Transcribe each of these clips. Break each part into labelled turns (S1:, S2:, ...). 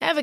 S1: Ever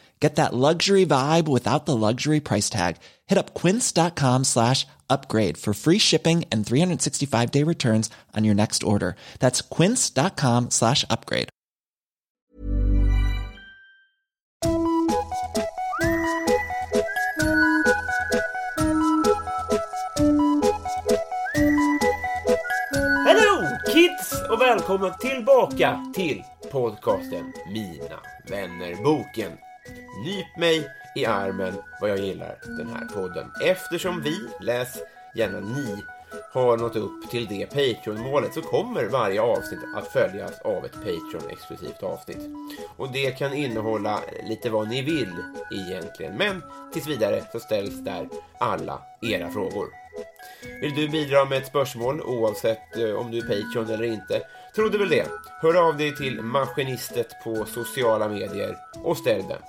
S2: Get that luxury vibe without the luxury price tag. Hit up quince.com slash upgrade for free shipping and 365 day returns on your next order. That's quince.com slash upgrade.
S3: Hello kids och välkomna tillbaka till podcasten Mina vännerboken. Nyp mig i armen vad jag gillar den här podden. Eftersom vi, läs gärna ni, har nått upp till det Patreon-målet så kommer varje avsnitt att följas av ett Patreon-exklusivt avsnitt. Och det kan innehålla lite vad ni vill egentligen, men tills vidare så ställs där alla era frågor. Vill du bidra med ett spörsmål oavsett eh, om du är Patreon eller inte? Trodde väl det. Hör av dig till Maskinistet på sociala medier och ställ den.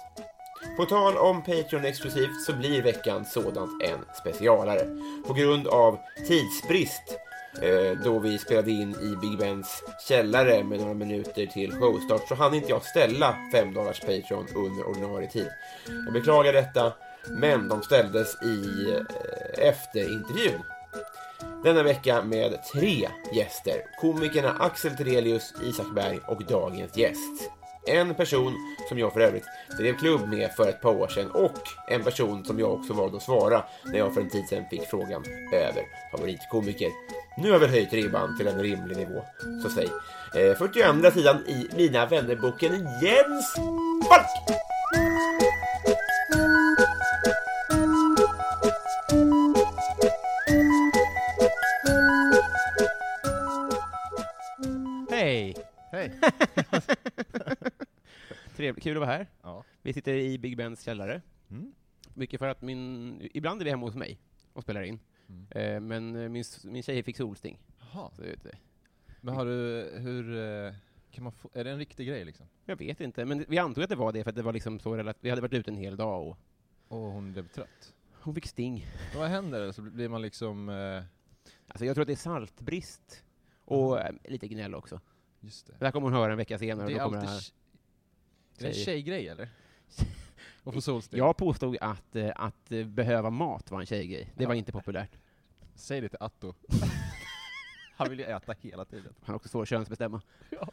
S3: På tal om Patreon exklusivt så blir veckans sådant en specialare. På grund av tidsbrist eh, då vi spelade in i Big Bens källare med några minuter till showstart så hann inte jag ställa 5 dollars Patreon under ordinarie tid. Jag beklagar detta men de ställdes i eh, efterintervjun. Denna vecka med tre gäster. Komikerna Axel Terelius, Isak Berg och dagens gäst. En person som jag för övrigt drev klubb med för ett par år sedan och en person som jag också valde att svara när jag för en tid sedan fick frågan över favoritkomiker. Nu har jag väl höjt ribban till en rimlig nivå, så säg. Eh, 42 sidan i Mina vännerboken Jens Falk!
S4: Hej!
S5: Hej!
S4: Trevligt, kul att vara här.
S5: Ja. Mm.
S4: Vi sitter i Big Bens källare. Mycket för att min... Ibland är vi hemma hos mig och spelar in.
S5: Mm.
S4: Eh, men eh, min, s- min tjej fick solsting.
S5: Jaha.
S4: Så jag, vet inte.
S5: Men har du, hur, eh, kan man få, är det en riktig grej liksom?
S4: jag vet inte, men vi antog att det var det för att det var liksom så relat- Vi hade varit ute en hel dag och
S5: Och hon blev trött.
S4: hon fick sting.
S5: Men vad händer? Så blir man liksom, eh,
S4: Alltså jag tror att det är saltbrist. Och eh, lite gnäll också.
S5: just det.
S4: Det här kommer hon höra en vecka senare.
S5: Mm. Det
S4: och
S5: är
S4: då kommer
S5: alltid,
S4: det här.
S5: tj- är det
S4: Tjejer.
S5: en tjejgrej eller? Och få solsting?
S4: Jag påstod att, eh, att eh, behöva mat var en tjejgrej. Det var
S5: Ja.
S4: inte populärt.
S5: Säg det till Atto. Han vill ju äta hela tiden.
S4: Han har också svår att könsbestämma.
S5: Ja.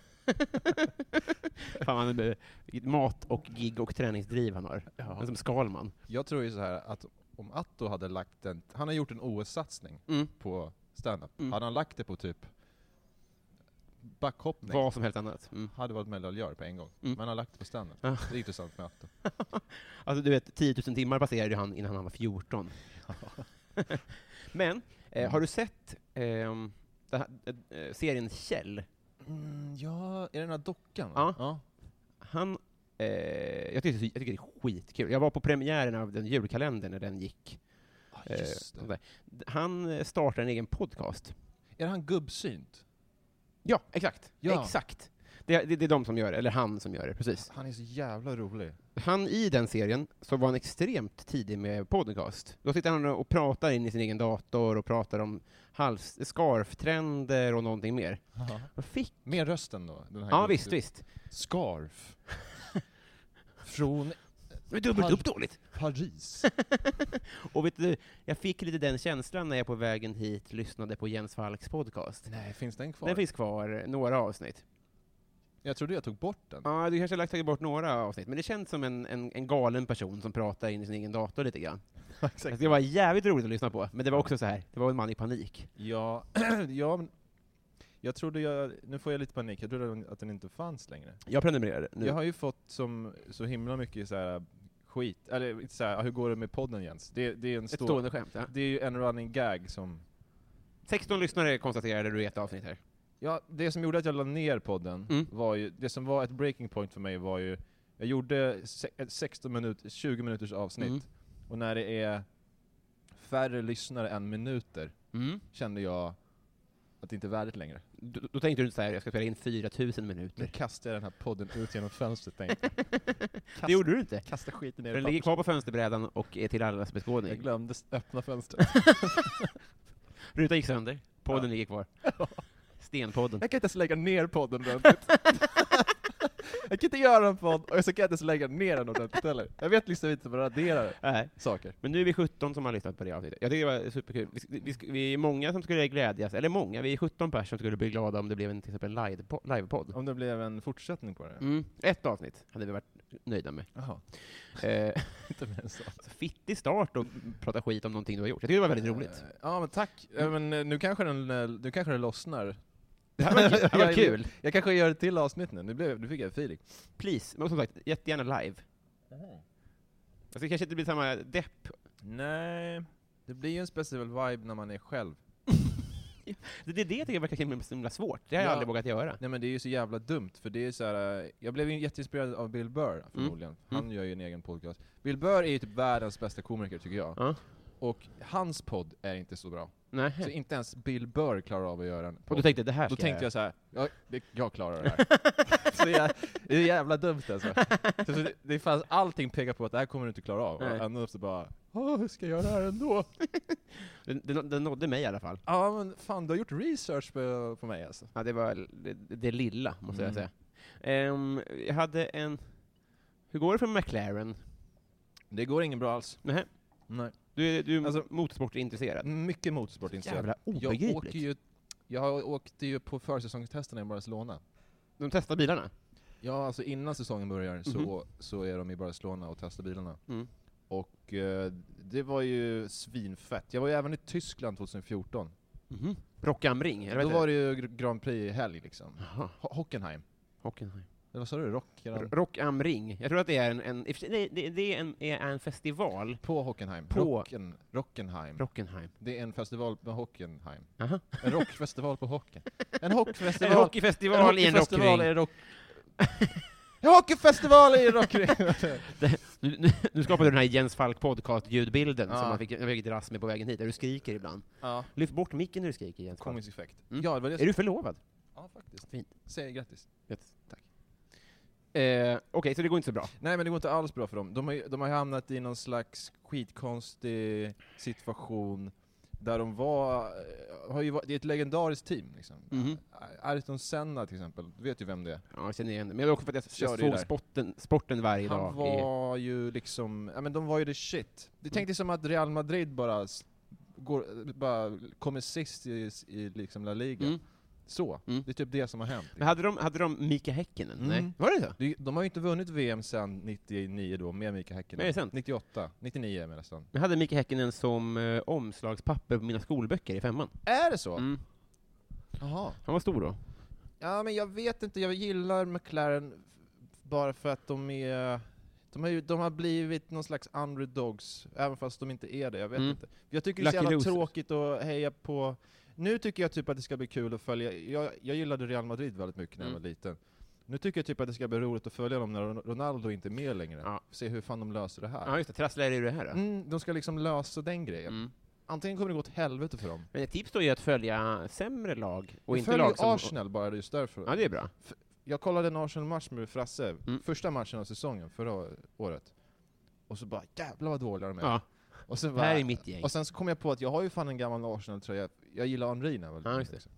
S4: Fan, han är, mat och gig och träningsdriv han har. Han är som Skalman.
S5: Jag tror ju så här att om Atto hade lagt en, han har gjort en OS-satsning på standup.
S4: Mm.
S5: Hade han lagt det på typ backhoppning?
S4: Vad som helst annat. Mm.
S5: Hade varit medaljör på en gång.
S4: Mm.
S5: Men han har lagt det på standup.
S4: Ja.
S5: Det är intressant med Atto.
S4: Alltså du vet, 10 000 timmar passerade han innan han var 14. Men,
S5: Mm.
S4: eh, har du sett ehm, det här, eh, serien Kjell?
S5: Mm, ja, är det den här dockan?
S4: Ja.
S5: va?
S4: Han, eh, jag, tycker, jag tycker det är skitkul. Jag var på premiären av den julkalendern när den gick.
S5: Ja,
S4: Eh,
S5: Ah, just det.
S4: sådär. han eh, startar en egen podcast.
S5: Är det han gubbsynt?
S4: Ja, exakt.
S5: Ja.
S4: Exakt. Det, det, det är de som gör det, eller han som gör det, precis.
S5: Han är så jävla rolig.
S4: Han i den serien, så var han extremt tidig med podcast. Då sitter han och pratar in i sin egen dator och pratar om hals, scarftrender och någonting mer. Och fick...
S5: Med rösten då? Den här
S4: Ja,
S5: gubb-
S4: visst, visst.
S5: Scarf. Från
S4: Men dubbelt
S5: Han-
S4: upp dåligt.
S5: Paris.
S4: Och vet du, jag fick lite den känslan när jag på vägen hit lyssnade på Jens Falks podcast.
S5: Nej, finns den kvar?
S4: Den finns kvar, några avsnitt.
S5: Jag trodde jag tog bort den.
S4: Ja, du kanske har lagt tagit bort några avsnitt, men det känns som en, en, en galen person som pratar in i sin egen dator lite grann. Alltså,
S5: Exakt.
S4: Det var jävligt roligt att lyssna på, men det var också så här, det var en man i panik.
S5: Ja, ja men Jag trodde jag, nu får jag lite panik, jag trodde att den inte fanns längre.
S4: Jag prenumererar nu.
S5: Jag har ju fått som, så himla mycket så här skit, eller inte så här, hur går det med podden Jens? Det, det är en
S4: Ett
S5: stor,
S4: stående skämt, ja.
S5: det är ju en running gag som
S4: 16 lyssnare konstaterade du i ett avsnitt här.
S5: Ja, det som gjorde att jag la ner podden
S4: Mm.
S5: var ju, det som var ett breaking point för mig var ju, jag gjorde se- ett 16 minut, 20 minuters avsnitt,
S4: Mm.
S5: och när det är färre lyssnare än minuter
S4: Mm.
S5: kände jag att det inte är värdigt längre.
S4: Då, då tänkte du inte så här, jag ska spela in 4000
S5: Nu
S4: minuter.
S5: kastar jag den här podden ut genom fönstret tänkte jag.
S4: Det gjorde du inte.
S5: Kasta skiten ner
S4: Den
S5: i
S4: ligger
S5: papper.
S4: kvar på fönsterbrädan och är till allas
S5: Jag
S4: beskådning.
S5: glömde s- öppna fönstret.
S4: Rutan gick sönder, podden ligger kvar. Stenpodden.
S5: Jag kan inte ens lägga ner podden ordentligt. jag kan inte göra en podd, och så kan jag inte ens lägga ner den ordentligt heller. Jag vet liksom inte hur man raderar
S4: Nej.
S5: saker.
S4: Men nu är vi 17 som har lyssnat på det avsnittet. Jag tycker det var superkul. Vi, sk- vi, sk- vi är många som skulle glädjas, eller många, vi är 17 personer som skulle bli glada om det blev en, till exempel en livepo- livepodd.
S5: Om det blev en fortsättning på det.
S4: Mm. Ett avsnitt hade vi varit nöjda med.
S5: Jaha,
S4: Eh,
S5: inte mer än så.
S4: så fittig start att prata skit om någonting du har gjort. Jag tycker det var väldigt roligt.
S5: Eh, Ja men tack, Eh, men eh, nu kanske den, eh, nu kanske den lossnar.
S4: Det här var, det här var
S5: Jag-
S4: kul.
S5: Jag kanske gör ett till avsnitt nu, nu, blev, nu fick jag en feeling.
S4: Please, men som sagt, jättegärna live. Alltså, det kanske inte blir samma depp.
S5: Nej, det blir ju en speciell vibe när man är själv.
S4: Det är det jag tycker verkar så himla- så himla svårt. Det har jag
S5: Ja.
S4: aldrig vågat göra.
S5: Nej men det är ju så jävla dumt, för det är så här. eh, jag blev ju jätteinspirerad av Bill Burr
S4: Mm.
S5: förmodligen. Han gör ju en egen podcast. Bill Burr är ju typ världens bästa komiker tycker jag.
S4: Ja.
S5: Och hans podd är inte så bra.
S4: Nej.
S5: Så inte ens Bill Burr klarar av att göra en
S4: Och du
S5: podd.
S4: tänkte det här
S5: Då
S4: ska
S5: tänkte
S4: jag
S5: jag så här, ja, det, jag klarar det här. så jag, det är jävla dumt alltså. Så så det, det fanns, allting pekar på att det här kommer du inte klara av. Och
S4: Nej.
S5: ändå så bara, åh, hur ska jag göra det här ändå?
S4: Den, den, den nådde mig i alla fall.
S5: Ja men fan, du har gjort research på, på mig alltså.
S4: Ja, det var det, det lilla, måste jag
S5: Mm.
S4: säga. Ehm, jag hade en... Hur går det för McLaren?
S5: Det går ingen bra alls.
S4: Nähä.
S5: Nej.
S4: Du är, du är
S5: Alltså-
S4: motorsportintresserad.
S5: Mycket motorsportintresserad.
S4: Jävla
S5: Jag åker
S4: obegripligt.
S5: ju, jag åkte ju på försäsongstesterna i Barcelona.
S4: De testar bilarna.
S5: Ja, alltså innan säsongen börjar så,
S4: Mhm.
S5: så är de i Barcelona och testar bilarna.
S4: Mm.
S5: Och eh, det var ju svinfett. Jag var ju även i Tyskland 2014.
S4: Mhm. Rock am Ring, eller vad
S5: Då
S4: heter
S5: var
S4: det?
S5: det ju Gr- Grand Prix i helg liksom.
S4: Jaha,
S5: Ho- Hockenheim.
S4: Hockenheim.
S5: Eller vad sa du? Rockran?
S4: Rock am Ring. Jag tror att det är en... en i och för sig- det, det, det är en, är en festival.
S5: På Hockenheim.
S4: På-
S5: Rocken, Rockenheim.
S4: Rockenheim.
S5: Det är en festival på Hockenheim.
S4: Aha.
S5: En rockfestival på Hocken. En hockfestival.
S4: En hockeyfestival i en
S5: hockeyfestival
S4: rockring.
S5: i en rock... En hockeyfestival i en rockring!
S4: Nu, nu, nu skapade du den här Jens Falk podcast-ljudbilden som
S5: Ja.
S4: man fick, jag fick dras med på vägen hit, där du skriker ibland.
S5: ja,
S4: Lyft bort micken när du skriker, Jens Falk.
S5: komisk effekt.
S4: Mm.
S5: Ja, det var det
S4: Är du förlovad?
S5: Ja, faktiskt.
S4: Fint.
S5: Säg grattis.
S4: Eh, Okej, så det går inte så bra.
S5: Nej men det går inte alls bra för dem. De har, ju- de har hamnat i någon slags skitkonstig situation där de var, eh, har ju varit, det är ett legendariskt team liksom.
S4: Mhm.
S5: Ayrton Senna till exempel, du vet ju vem det är.
S4: Ja, jag känner igen det. Men det var också för att jag,
S5: Kör
S4: jag
S5: det där.
S4: såg sporten, sporten varje dag.
S5: Han
S4: i-
S5: var ju liksom, ja men de var ju the shit. Det tänkte som att Real Madrid bara, s- går, bara kommer sist i, i liksom La Liga.
S4: Mm.
S5: Så,
S4: Mm.
S5: det är typ det som har hänt.
S4: Men hade de, hade de Mika Häkkinen?
S5: Mm.
S4: Nej. Var det så?
S5: Det- De har ju inte vunnit VM sedan 99 då, med Mika Häkkinen.
S4: Är det sant? Mm.
S5: 98, 99 menar jag.
S4: Jag hade Mika Häkkinen som eh, omslagspapper på mina skolböcker i femman.
S5: Är det så?
S4: Mm.
S5: Jaha.
S4: Han var stor då.
S5: Ja, men jag vet inte. Jag gillar McLaren f- bara för att de är... De har, ju, de har blivit någon slags underdogs, även fast de inte är det. Jag vet
S4: Mm.
S5: inte. Jag tycker det är så
S4: Lucky
S5: jävla
S4: losers.
S5: tråkigt att heja på... Nu tycker jag typ att det ska bli kul att följa... Jag, jag gillade Real Madrid väldigt mycket när jag
S4: Mm.
S5: var liten. Nu tycker jag typ att det ska bli roligt att följa dem när Ron- Ronaldo inte är med längre.
S4: Ja.
S5: Se hur fan de löser det här.
S4: Ja, just det. Trasslar är det här då.
S5: Mm, de ska liksom lösa den grejen.
S4: Mm.
S5: Antingen kommer det gå åt helvete för dem.
S4: Men ett tips då är att följa sämre lag och
S5: Jag
S4: inte
S5: följer
S4: lag som...
S5: Arsenal bara just därför.
S4: Ja, det är bra.
S5: Jag kollade en Arsenal-match med Frasse,
S4: Mm.
S5: första matchen av säsongen förra året. Och så bara jävlar vad dåliga de är.
S4: Ja.
S5: Och, så
S4: Det
S5: bara,
S4: här är mitt gäng.
S5: och sen så kom jag på att jag har ju fan en gammal Arsenal-tröja, jag gillar Henri när jag var
S4: Ja,
S5: liten
S4: just det.
S5: också.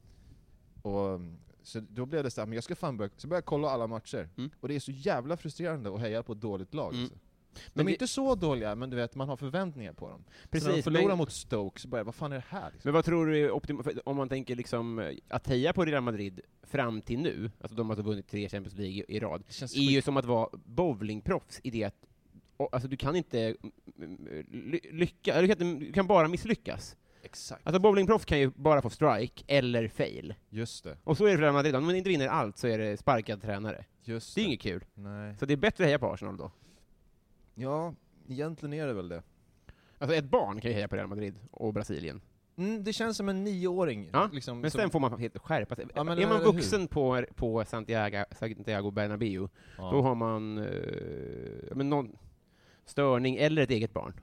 S5: Och um, Så då blev det så här, men jag ska fan börja, så började jag kolla alla matcher.
S4: Mm.
S5: Och det är så jävla frustrerande att heja på ett dåligt lag.
S4: Mm.
S5: Alltså. De
S4: Men
S5: är
S4: det-
S5: inte så dåliga, men du vet, man har förväntningar på dem. så när de
S4: Precis,
S5: förlorar
S4: men-
S5: mot Stoke så börjar jag, vad fan är det här? Liksom?
S4: Men vad tror du är optim- för om man tänker liksom eh, att heja på Real Madrid fram till nu, alltså de har alltså vunnit tre Champions League i- i rad,
S5: Det känns
S4: är ju som att vara bowlingproffs i det att och, alltså, du kan inte mm, mm, ly- lycka, eller du kan inte- du kan bara misslyckas.
S5: Exakt.
S4: Alltså bowlingproffs kan ju bara få strike eller fail.
S5: Just det.
S4: Och så är det för Real Madrid, om man inte vinner allt så är det sparkad tränare.
S5: Just
S4: Det
S5: det.
S4: är inget kul.
S5: Nej.
S4: Så det är bättre att heja på Arsenal då.
S5: Ja, egentligen är det väl det.
S4: Alltså ett barn kan ju heja på Real Madrid och Brasilien.
S5: Mm, det känns som en nioåring.
S4: Ja,
S5: liksom,
S4: Men
S5: som-
S4: sen får man helt skärpa sig.
S5: Ja, men
S4: är man
S5: eller hur?
S4: vuxen på, på Santiago, Santiago Bernabéu,
S5: Ja.
S4: då har man eh, ja, men någon störning eller ett eget barn.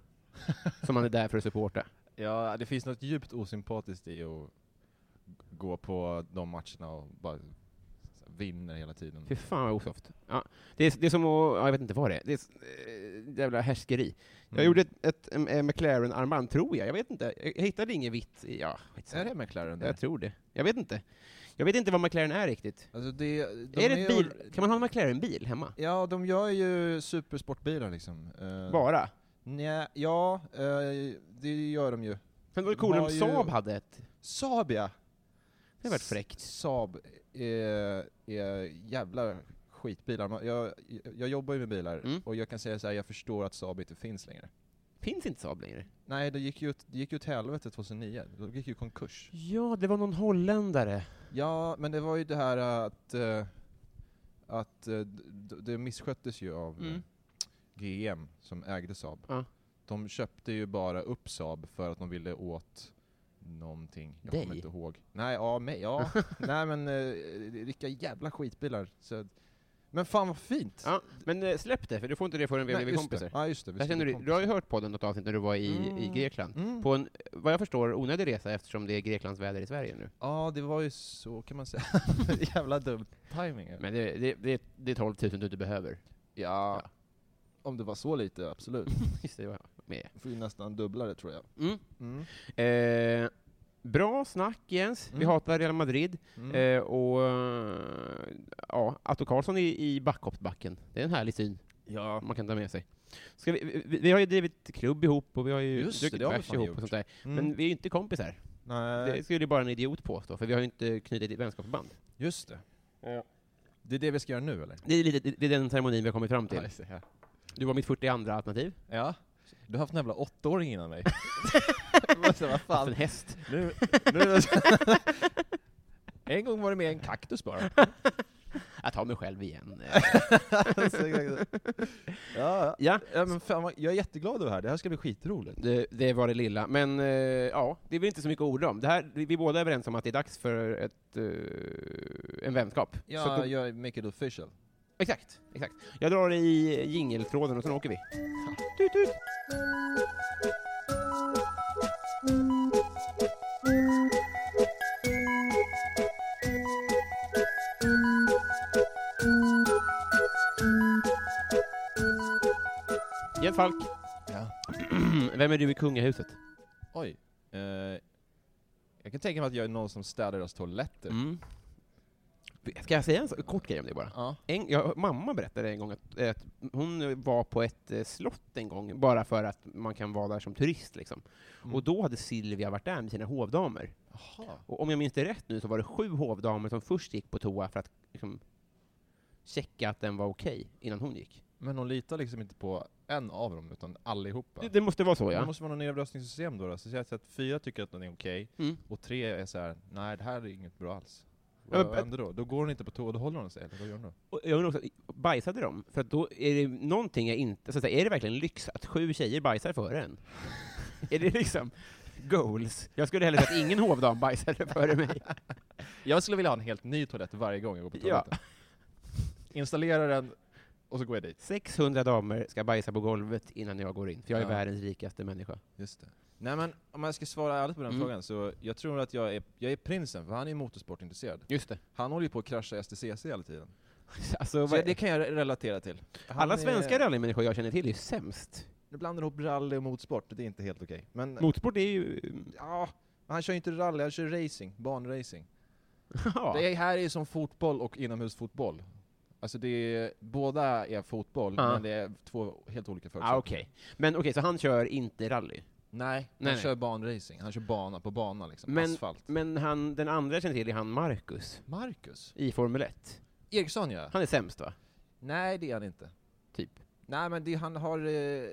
S4: som man är där för att supporta.
S5: Ja, det finns något djupt osympatiskt i att gå på de matcherna och bara vinner hela tiden.
S4: Fy fan vad osoft. Ja, det, är, det är som att, ja, jag vet inte vad det är, det är s- eh, jävla härskeri. Jag
S5: Mm.
S4: gjorde ett, ett em- eh, McLaren-armband, tror jag, jag vet inte. Jag jag hittade inget vitt, i- ja,
S5: Är
S4: skitsamma.
S5: det McLaren?
S4: jag
S5: Där?
S4: tror det. Jag vet inte. Jag vet inte vad McLaren är riktigt.
S5: Alltså det, de
S4: är det ett bil?
S5: or-
S4: Kan man ha en McLaren-bil hemma?
S5: Ja, de gör ju supersportbilar liksom. Eh,
S4: Bara?
S5: Nja, ja, eh, det gör de ju.
S4: Men det vore
S5: De
S4: coolt om
S5: har ju-
S4: Saab hade ett.
S5: Saab ja!
S4: Det hade varit fräckt.
S5: Saab är, är jävla skitbilar. Man- Jag, jag, jag jobbar ju med bilar,
S4: Mm.
S5: och jag kan säga så här, jag förstår att Saab inte finns längre.
S4: Finns inte Saab längre?
S5: Nej, det gick ju åt, det gick ju åt helvete 2009. De gick ju i konkurs.
S4: Ja, det var någon holländare.
S5: Ja, men det var ju det här äh, att, äh, att äh, d- d- det missköttes ju av
S4: Mm.
S5: äh, GM som ägde Saab.
S4: Ja.
S5: De köpte ju bara upp Saab för att de ville åt någonting. Jag
S4: Dig?
S5: kommer inte ihåg. Nej, ja, mig. Ja. Nej men äh, vilka jävla skitbilar. Så, men fan vad fint!
S4: Ja, men eh, släpp det, för du får inte det förrän vi har
S5: Nej,
S4: blivit
S5: just
S4: kompisar.
S5: Det. Ja, just det. vi
S4: Där
S5: ska
S4: känner
S5: bli
S4: du, du har ju
S5: kompisar.
S4: hört podden något avsnitt när du var i, i
S5: Mm.
S4: Grekland.
S5: Mm.
S4: På en, vad jag förstår, onödig resa eftersom det är Greklands väder i Sverige nu.
S5: Ja, det var ju så kan man säga. jävla dum timing.
S4: Men det, det, det, det är 12 000 du inte behöver.
S5: Ja.
S4: Ja.
S5: Om det var så lite, absolut.
S4: Just det, det, var jag med.
S5: Får ju nästan dubbla det tror jag.
S4: Mm. Eh, bra snack Jens, vi
S5: Mm.
S4: hatar Real Madrid.
S5: Mm.
S4: Eh, och eh, ja, Atto Karlsson i, i backhoppsbacken. Det är en härlig syn
S5: Ja.
S4: man kan ta med sig. Ska vi, vi, vi har ju drivit klubb ihop och vi har ju
S5: Just det,
S4: druckit
S5: det har vi
S4: bärs
S5: fan
S4: ihop och
S5: gjort.
S4: sånt där.
S5: Mm.
S4: Men vi är ju inte kompisar.
S5: Nej,
S4: Det skulle ju bara en idiot påstå, för vi har ju inte knutit ett vänskapsband.
S5: just det. Det är det vi ska göra nu eller?
S4: Det är, lite, det är den ceremonin vi har kommit fram
S5: Ja,
S4: till.
S5: just det, ja.
S4: Du var mitt 42 alternativ.
S5: Ja. Du har haft en jävla åttaåring innan mig. Jag bara så här, Vad
S4: Haft en
S5: fan?
S4: häst.
S5: Nu, nu. en gång var det med en kaktus bara.
S4: Jag tar mig själv igen.
S5: Alltså, exakt. ja.
S4: ja,
S5: ja, men fan vad, jag är jätteglad över det här. Det här ska bli skitroligt.
S4: det, det var det lilla. Men eh, ja, det är väl inte så mycket ord om. Det här, vi är båda överens om att det är dags för ett, eh, en vänskap. Så gå-
S5: jag make it official.
S4: exakt, exakt. Jag drar i jingeltråden och sen åker vi. Tut, tut. Jens Falk,
S5: Ja.
S4: vem är du i kungahuset?
S5: Oj. Eh, jag kan tänka mig att jag är någon som städar deras toaletter.
S4: Mm. Ska jag säga en så, kort grej om det bara?
S5: Ja.
S4: En, ja, mamma berättade en gång att, att hon var på ett eh, slott en gång, bara för att man kan vara där som turist. Liksom.
S5: Mm.
S4: Och då hade Silvia varit där med sina hovdamer.
S5: Jaha.
S4: Och om jag minns det rätt nu så var det sju hovdamer som först gick på toa för att liksom, checka att den var okej, innan hon gick.
S5: Men de litar liksom inte på en av dem, utan allihopa.
S4: Det, det måste vara så,
S5: Det
S4: ja.
S5: måste vara något nedröstningssystem då, då. Så säg att fyra tycker att den är okej,
S4: Mm.
S5: och tre är så här: nej det här är inget bra alls.
S4: Ja,
S5: Vad
S4: men-
S5: händer då? Då går hon inte på toa, då håller hon sig, eller vad gör hon då?
S4: Och jag undrar också, bajsade de? För att då är det någonting jag inte... Så att säga, är det verkligen lyx att sju tjejer bajsar före en? är det liksom goals? Jag skulle hellre säga att ingen hovdam bajsade före mig.
S5: Jag skulle vilja ha en helt ny toalett varje gång jag går på
S4: Ja.
S5: toaletten. Installera den, och så går jag dit.
S4: 600 damer ska bajsa på golvet innan jag går in, för jag är
S5: Ja.
S4: världens rikaste människa.
S5: Just det. Nej men, om jag ska svara ärligt på den
S4: Mm.
S5: frågan, så jag tror att jag är, jag är prinsen, för han är ju motorsportintresserad.
S4: Just det.
S5: Han håller ju på att krascha STCC hela tiden.
S4: Alltså,
S5: Så
S4: vad,
S5: det kan jag re- relatera till. Han
S4: alla
S5: är-
S4: svenska rallymänniskor jag känner till är ju sämst.
S5: Nu blandar ihop rally och motorsport, det är inte helt okej. Men,
S4: Motorsport är ju...
S5: ja, men han kör ju inte rally, han kör racing, banracing.
S4: Ja.
S5: Det här är ju som fotboll och inomhusfotboll. Alltså det är, båda är fotboll,
S4: Ja.
S5: men det är två helt olika förutsättningar.
S4: Ah, okej. Men okej, så han kör inte rally?
S5: Nej, han
S4: Nej, nej.
S5: kör banracing, han kör bana på bana liksom,
S4: Men-
S5: asfalt.
S4: Men han, den andra jag känner till är han Marcus,
S5: Marcus?
S4: i Formel 1.
S5: Eriksson ja.
S4: Han är sämst va?
S5: Nej det är han inte.
S4: Typ.
S5: Nej men det, han har, eh,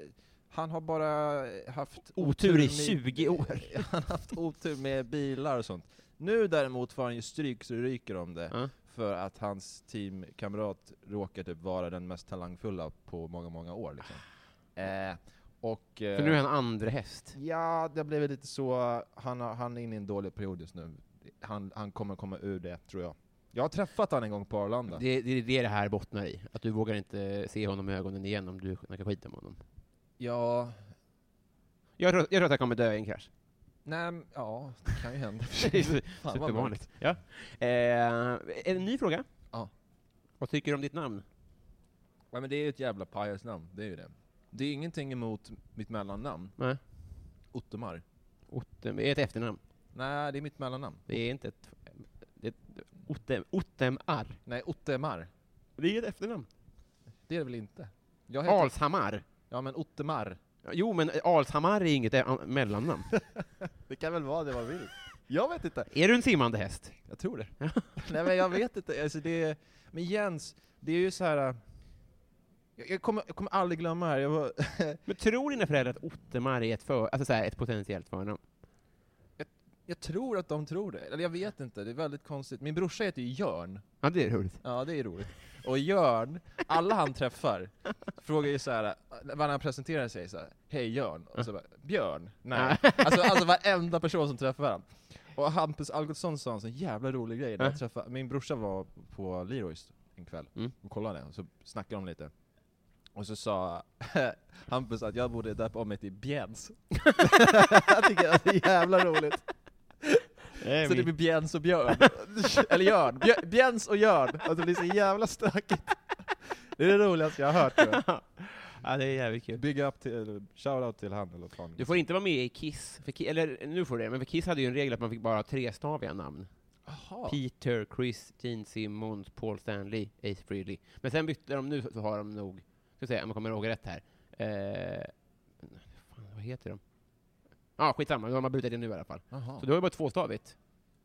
S5: Han har bara haft
S4: Otur i
S5: med-
S4: 20 år.
S5: Han har haft otur med bilar och sånt. Nu däremot får han ju stryk så det ryker om det,
S4: Ja.
S5: för att hans teamkamrat råkar typ vara den mest talangfulla på många, många år. Liksom. Eh, och... eh,
S4: För nu är han andra häst.
S5: Ja, det har blivit lite så. Han, har, han är inne i en dålig period just nu. Han, han kommer komma ur det, tror jag. Jag har träffat han en gång på Arlanda.
S4: Det, det är det det här bottnar i. Att du vågar inte se honom i ögonen igen om du snackar skit om honom.
S5: Ja,
S4: Jag tror, jag tror att jag kommer dö i en krasch.
S5: nej, men- ja, det kan ju hända.
S4: Det är så-
S5: vad
S4: Supervanligt. Ja. Eh, en ny fråga.
S5: Ja.
S4: Vad tycker du om ditt namn?
S5: Nej, men det är ju ett jävla pajasnamn, det är ju det. Det är ingenting emot mitt mellannamn,
S4: Nej.
S5: Ottomar.
S4: Otte, det är ett efternamn.
S5: Nej, det är mitt mellannamn.
S4: Det är inte ett... Det är ett Otte, Ottemar.
S5: Nej, Ottemar.
S4: Det är ett efternamn.
S5: Det är det väl inte? Jag heter,
S4: Alshammar.
S5: Ja, men Ottemar.
S4: Jo, men Alshammar är inget eh, mellannamn.
S5: Det kan väl vara det man vill? Jag vet inte.
S4: är du en simmande häst?
S5: Jag tror det. Nej men jag vet inte, alltså det är, men Jens, det är ju så här. äh, Jag, jag, kommer, jag kommer aldrig glömma det här, jag var,
S4: Men tror dina föräldrar att Ottemar är ett, för, alltså så här, ett potentiellt förnamn?
S5: jag tror att de tror det, eller jag vet inte, det är väldigt konstigt. Min brorsa heter ju Jörn,
S4: Ja, det är roligt.
S5: ja det är roligt. Och Jörn, alla han träffar, frågar ju så här, äh, när han presenterar sig så här, hej Jörn, och så bara, Björn? Nej. Alltså, alltså varenda person som träffar honom. Och Hampus Algotsson sa en sån jävla rolig grej, när jag
S4: Äh.
S5: träffade, min brorsa var på Leroys en kväll.
S4: Mm.
S5: och kollade, och så snackade de lite. Och så sa Hampus att jag borde döpa om mig till Bjens. jag tycker att det är jävla roligt. Så det blir Bjens och Björn. Eller Jörn. Bjö- Bjens och Jörn. Alltså det blir så jävla stökigt. Det är det roligaste jag har hört. tror
S4: ja, det är jävligt
S5: jag.
S4: kul.
S5: Big up till, eller shoutout till han eller vad fan.
S4: Du får inte vara med i Kiss, för Ki- eller nu får du det, men för Kiss hade ju en regel att man fick bara ha trestaviga namn.
S5: Jaha.
S4: Peter, Chris, Gene Simmons, Paul Stanley, Ace Frehley. Men sen bytte de nu, så så har de nog, ska säga om jag kommer ihåg rätt här, eh, fan, vad heter de? Ja, ah, skitsamma, de har brutit det nu i alla fall.
S5: Jaha.
S4: Så du har ju bara tvåstavigt.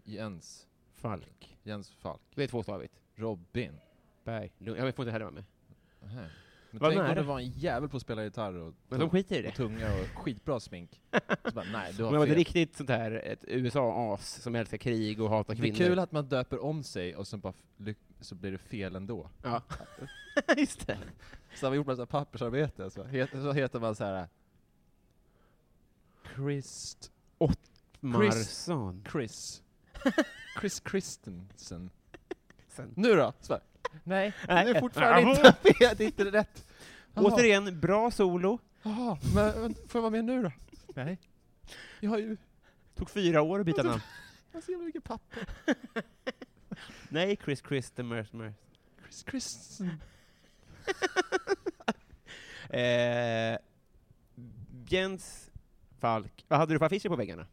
S5: Jens.
S4: Falk.
S5: Jens Falk.
S4: Det är tvåstavigt.
S5: Robin.
S4: Berg. Lund. Jag får inte heller vara med.
S5: Nähä. Men
S4: Vad
S5: tänk om
S4: nära.
S5: det var en jävel på att spela gitarr och,
S4: Men de skiter i det.
S5: och tunga och skitbra smink. Så bara, nej, du
S4: Om
S5: har
S4: det var ett
S5: fel.
S4: riktigt sånt här, ett USA-as som älskar krig och hatar
S5: Det är
S4: kvinnor.
S5: kul att man döper om sig och sen bara f- ly- så blir det fel ändå.
S4: Ja. Just det.
S5: Så har man gjort massa pappersarbete, så heter, så heter man så här. äh, Christ...
S4: Marsson.
S5: Chris. Chris Christensen.
S4: Sen.
S5: Nu då? Så bara, nej,
S4: Nej.
S5: det är fortfarande inte fel, det är inte rätt. Jaha,
S4: Återigen, bra solo.
S5: jaha, men, men får jag vara med nu då? Nej. Jag har ju
S4: Tog fyra år att byta namn.
S5: jag har så jävla mycket papper.
S4: Nej, Chris Christemer.
S5: Chris Christensen.
S4: Eh, Jens Falk. Vad hade du för affischer på väggarna?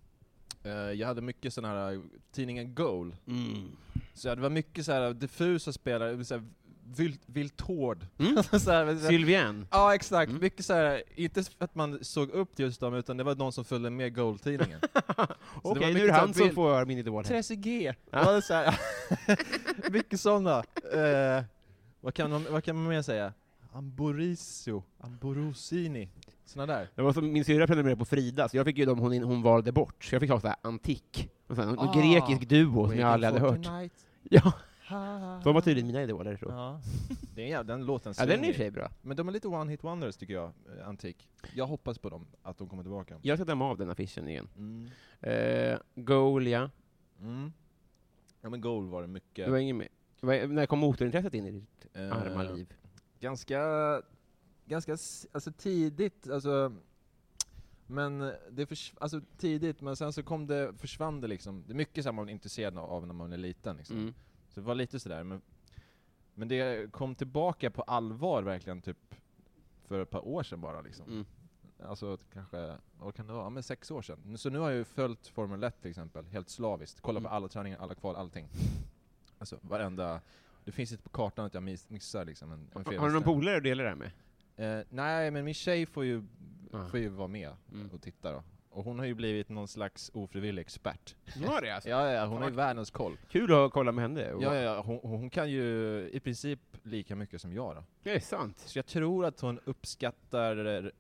S5: Eh, jag hade mycket sån här, äh, tidningen Goal
S4: Mm.
S5: Så det var mycket så här diffusa spelare, så här, vilt, Viltord. så här, men så här,
S4: Sylvian.
S5: ja exakt,
S4: Mm.
S5: mycket så här, inte för att man såg upp till just dem, utan det var någon som följde med Gold-tidningen. var
S4: Okej, nu är
S5: mycket
S4: det han
S5: så här
S4: som
S5: bild-
S4: får min idol här.
S5: 30G! Ja. Så här, mycket sådana. Eh, vad, kan man, vad kan man mer säga? Amborisio, Amborosini, såna där.
S4: Det var som min syrra prenumererade på Frida, så jag fick ju dem hon, in- hon valde bort. Så jag fick ha så här antik, och så här, någon
S5: Ah.
S4: grekisk duo som jag aldrig hade hört. Ja, de var tydligen mina idoler. Tror. jag.
S5: Ja. Det är, en jävla- den låten
S4: Ja, den är i och för sig
S5: svänger.
S4: bra.
S5: Men de är lite one-hit wonders tycker jag, eh, Antik. Jag hoppas på dem, att de kommer tillbaka.
S4: Jag ska damma av den affischen igen.
S5: Mm.
S4: Eh, Goal, ja.
S5: Mm. Ja men goal var det mycket.
S4: Det var ingen mer. Det var- När kom motorintresset in i ditt
S5: eh,
S4: arma liv?
S5: Ganska, ganska s- alltså tidigt, alltså, men det förs- alltså tidigt, men sen så kom det, försvann det liksom. Det är mycket som man är intresserad av när man är liten liksom.
S4: Mm.
S5: Så det var lite sådär, men, men det kom tillbaka på allvar verkligen typ för ett par år sedan bara liksom.
S4: Mm.
S5: Alltså kanske, vad kan det vara? Ja, men sex år sedan. Så nu har jag ju följt Formel 1 till exempel, helt slaviskt. Kollat på
S4: Mm.
S5: alla träningar, alla kval, allting. Alltså varenda... Det finns inte på kartan att jag miss, missar liksom en, en
S4: Har du någon polare du delar det här med?
S5: Eh, nej, men min tjej får ju,
S4: Ja.
S5: får ju vara med
S4: Mm.
S5: och titta då. Och hon har ju blivit någon slags ofrivillig expert.
S4: Var det alltså?
S5: Ja, ja, hon har
S4: Fan.
S5: ju världens koll.
S4: Kul att kolla med henne.
S5: Ja, ja, ja hon, hon kan ju i princip lika mycket som jag då.
S4: Det är sant.
S5: Så jag tror att hon uppskattar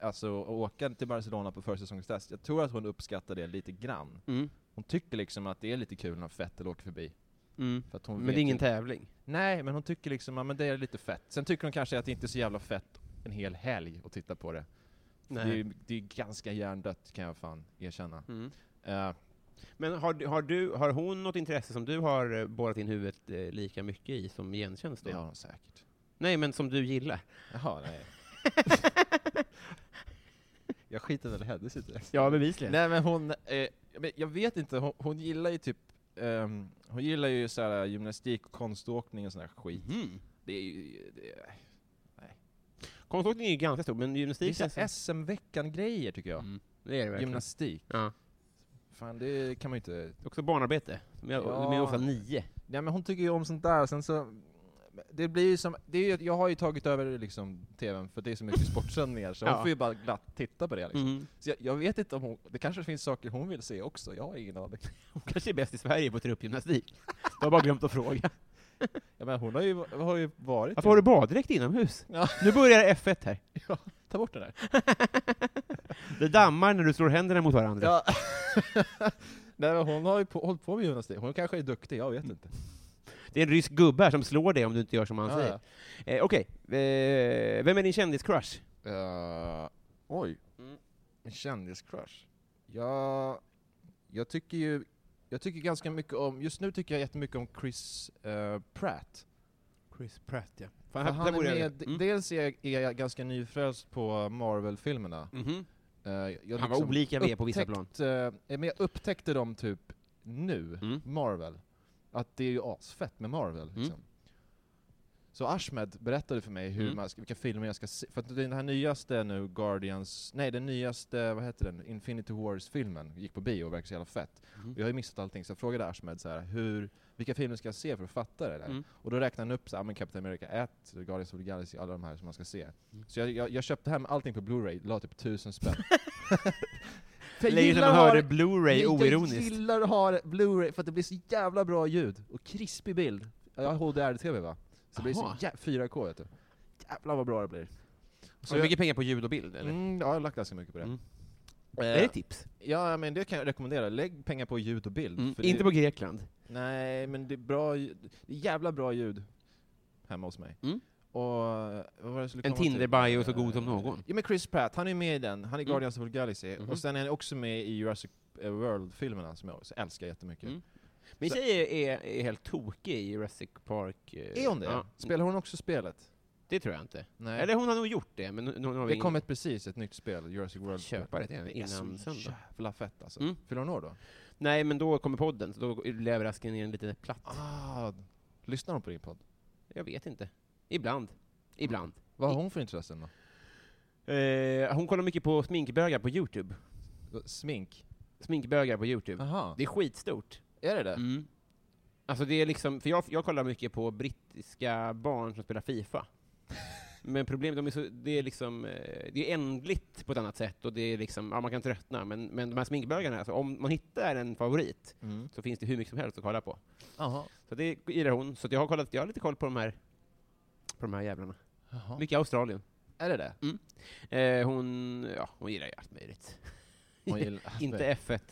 S5: alltså, att åka till Barcelona på försäsongstest, jag tror att hon uppskattar det lite grann.
S4: Mm.
S5: Hon tycker liksom att det är lite kul när Vettel åker förbi.
S4: Mm.
S5: För att hon
S4: Men det
S5: vet
S4: är ingen
S5: ju-
S4: tävling.
S5: Nej, men hon tycker liksom att men det är lite fett. Sen tycker hon kanske att det inte är så jävla fett en hel helg att titta på det. Det är,
S4: Nej.
S5: ju- det är ganska hjärndött kan jag fan erkänna.
S4: Mm.
S5: Eh,
S4: Men har, du- har, du, har hon något intresse som du har eh, borrat in huvudet eh, lika mycket i som gentjänst då?
S5: det har hon säkert.
S4: Nej, men som du gillar?
S5: Jaha, nej. jag skiter väl i hennes intresse.
S4: Ja, bevisligen.
S5: Nej men hon, eh, men jag vet inte, hon, hon gillar ju typ, ehm, hon gillar ju så här gymnastik och konståkning och sån här skit.
S4: Mhm.
S5: Det är ju, det är,
S4: Konståkning är ju ganska stor, men
S5: det
S4: gymnastik
S5: är
S4: känns...
S5: så här SM-veckan grejer tycker jag.
S4: Mm, det är det verkligen.
S5: Gymnastik.
S4: Ja.
S5: Fan det kan man ju inte
S4: Också barnarbete. De är, de är
S5: Ja.
S4: ofta nio.
S5: Nej men hon tycker ju om sånt där, sen så det blir ju som, det är ju, jag har ju tagit över liksom TVn för det är så mycket sportsändningar så hon
S4: Ja.
S5: får ju bara glatt titta på det liksom.
S4: Mm.
S5: Så jag, jag vet inte om hon, det kanske finns saker hon vill se också, jag har ingen aning.
S4: Hon kanske är bäst i Sverige på truppgymnastik. Du har bara glömt att fråga.
S5: Ja, men hon har ju, har ju varit
S4: Varför har du baddräkt inomhus?
S5: Ja.
S4: Nu börjar F1 här.
S5: Ta bort det där.
S4: Det dammar när du slår händerna mot varandra.
S5: Ja. Nej men hon har ju på, hållit på med gymnastik, hon kanske är duktig, jag
S4: Mm.
S5: vet inte.
S4: Det är en rysk gubbe här som slår dig om du inte gör som han
S5: Ja,
S4: säger. Eh, Okej, eh, vem är din kändiscrush?
S5: ja. Eh, oj,
S4: Mm.
S5: en kändiscrush. Jag, jag tycker ju, jag tycker ganska mycket om, just nu tycker jag jättemycket om Chris eh, Pratt.
S4: Chris Pratt, ja.
S5: För
S4: Fan, här,
S5: han
S4: där
S5: är
S4: borde jag...
S5: med,
S4: Mm.
S5: Dels är jag, är jag ganska nyfrälst på Marvel-filmerna.
S4: Mhm.
S5: Eh, jag
S4: Han var olika med på vissa plan.
S5: upptäckt, eh, men jag upptäckte dem typ nu,
S4: Mm.
S5: Marvel. Att det är ju asfett med Marvel. Liksom. Så Ashmed berättade för mig hur
S4: Mm.
S5: man ska, vilka filmer jag ska se. För att den här nyaste nu, Guardians, nej den nyaste, vad heter den, Infinity Wars-filmen, gick på bio och verkar så jävla fett.
S4: Mhm.
S5: Och jag har ju missat allting, så jag frågade Ashmed så här, hur, vilka filmer ska jag se för att fatta det där?
S4: Mm.
S5: Och då räknade han upp så här, men Captain America 1, Guardians of the Galaxy, alla de här som man ska se.
S4: Mm.
S5: Så jag, jag, jag köpte hem allting på Blu-ray, la typ tusen spänn. För jag
S4: Längre sedan
S5: gillar
S4: man
S5: att ha
S4: hörde
S5: det-
S4: Blu-ray
S5: jag
S4: oironiskt.
S5: gillar att ha det- Blu-ray för att det blir så jävla bra ljud och krispig bild. Jag har HDR-TV va? Så det blir så
S4: Aha.
S5: jä- 4K vet du. Jävlar vad bra det blir.
S4: Så mycket pengar på ljud och bild, eller?
S5: Mm, ja, jag har lagt ganska mycket på det.
S4: Mm.
S5: Eh,
S4: Är det tips?
S5: ja, men det kan jag rekommendera. Lägg pengar på ljud och bild.
S4: Mm.
S5: för
S4: Inte
S5: det,
S4: på Grekland.
S5: Nej, men det är bra, ljud- det är jävla bra ljud hemma hos mig.
S4: Mm.
S5: Och, vad var det jag skulle
S4: En
S5: komma till?
S4: Tinder-bio så god som någon.
S5: Ja men Chris Pratt, han är med i den, han är
S4: Mm.
S5: Guardians of the Galaxy,
S4: Mhm.
S5: och sen är han också med i Jurassic eh, World-filmerna som jag också älskar jättemycket.
S4: Mm. Min
S5: Så-
S4: tjej är, är helt tokig i Jurassic Park. eh,
S5: Är hon det?
S4: Ja,
S5: Spelar hon också spelet?
S4: det tror jag inte.
S5: Nej.
S4: Eller hon har nog gjort det, men hon hon har
S5: det
S4: ingen-
S5: kom ett precis, ett nytt spel, Jurassic World.
S4: köpa det till henne
S5: Det är
S4: innan
S5: så
S4: söndag.
S5: jävla fett alltså.
S4: Mm.
S5: Fyller hon år då?
S4: Nej, men då kommer podden, så då lever asken ner en liten platt.
S5: Ah, lyssnar hon på din podd?
S4: Jag vet inte. Ibland. Ibland.
S5: Vad har hon för intressen då?
S4: Eh, hon kollar mycket på sminkbögar på Youtube.
S5: Smink?
S4: Sminkbögar på Youtube.
S5: Aha.
S4: Det är skitstort.
S5: är det det?
S4: Mm. Alltså det är liksom, för jag, jag kollar mycket på brittiska barn som spelar Fifa. Men problemet, de är så, det är liksom, eh, det är ändligt på ett annat sätt och det är liksom, ja man kan tröttna, men, men de här sminkbögarna, alltså, om man hittar en favorit
S5: Mm.
S4: så finns det hur mycket som helst att kolla på.
S5: Aha.
S4: Så det gillar hon, så att jag har kollat, jag har lite koll på de här, på de här jävlarna.
S5: Aha.
S4: Mycket Australien.
S5: Är det det?
S4: Eh, hon, ja, hon gillar ju allt möjligt.
S5: Hon gillar-
S4: Inte F1.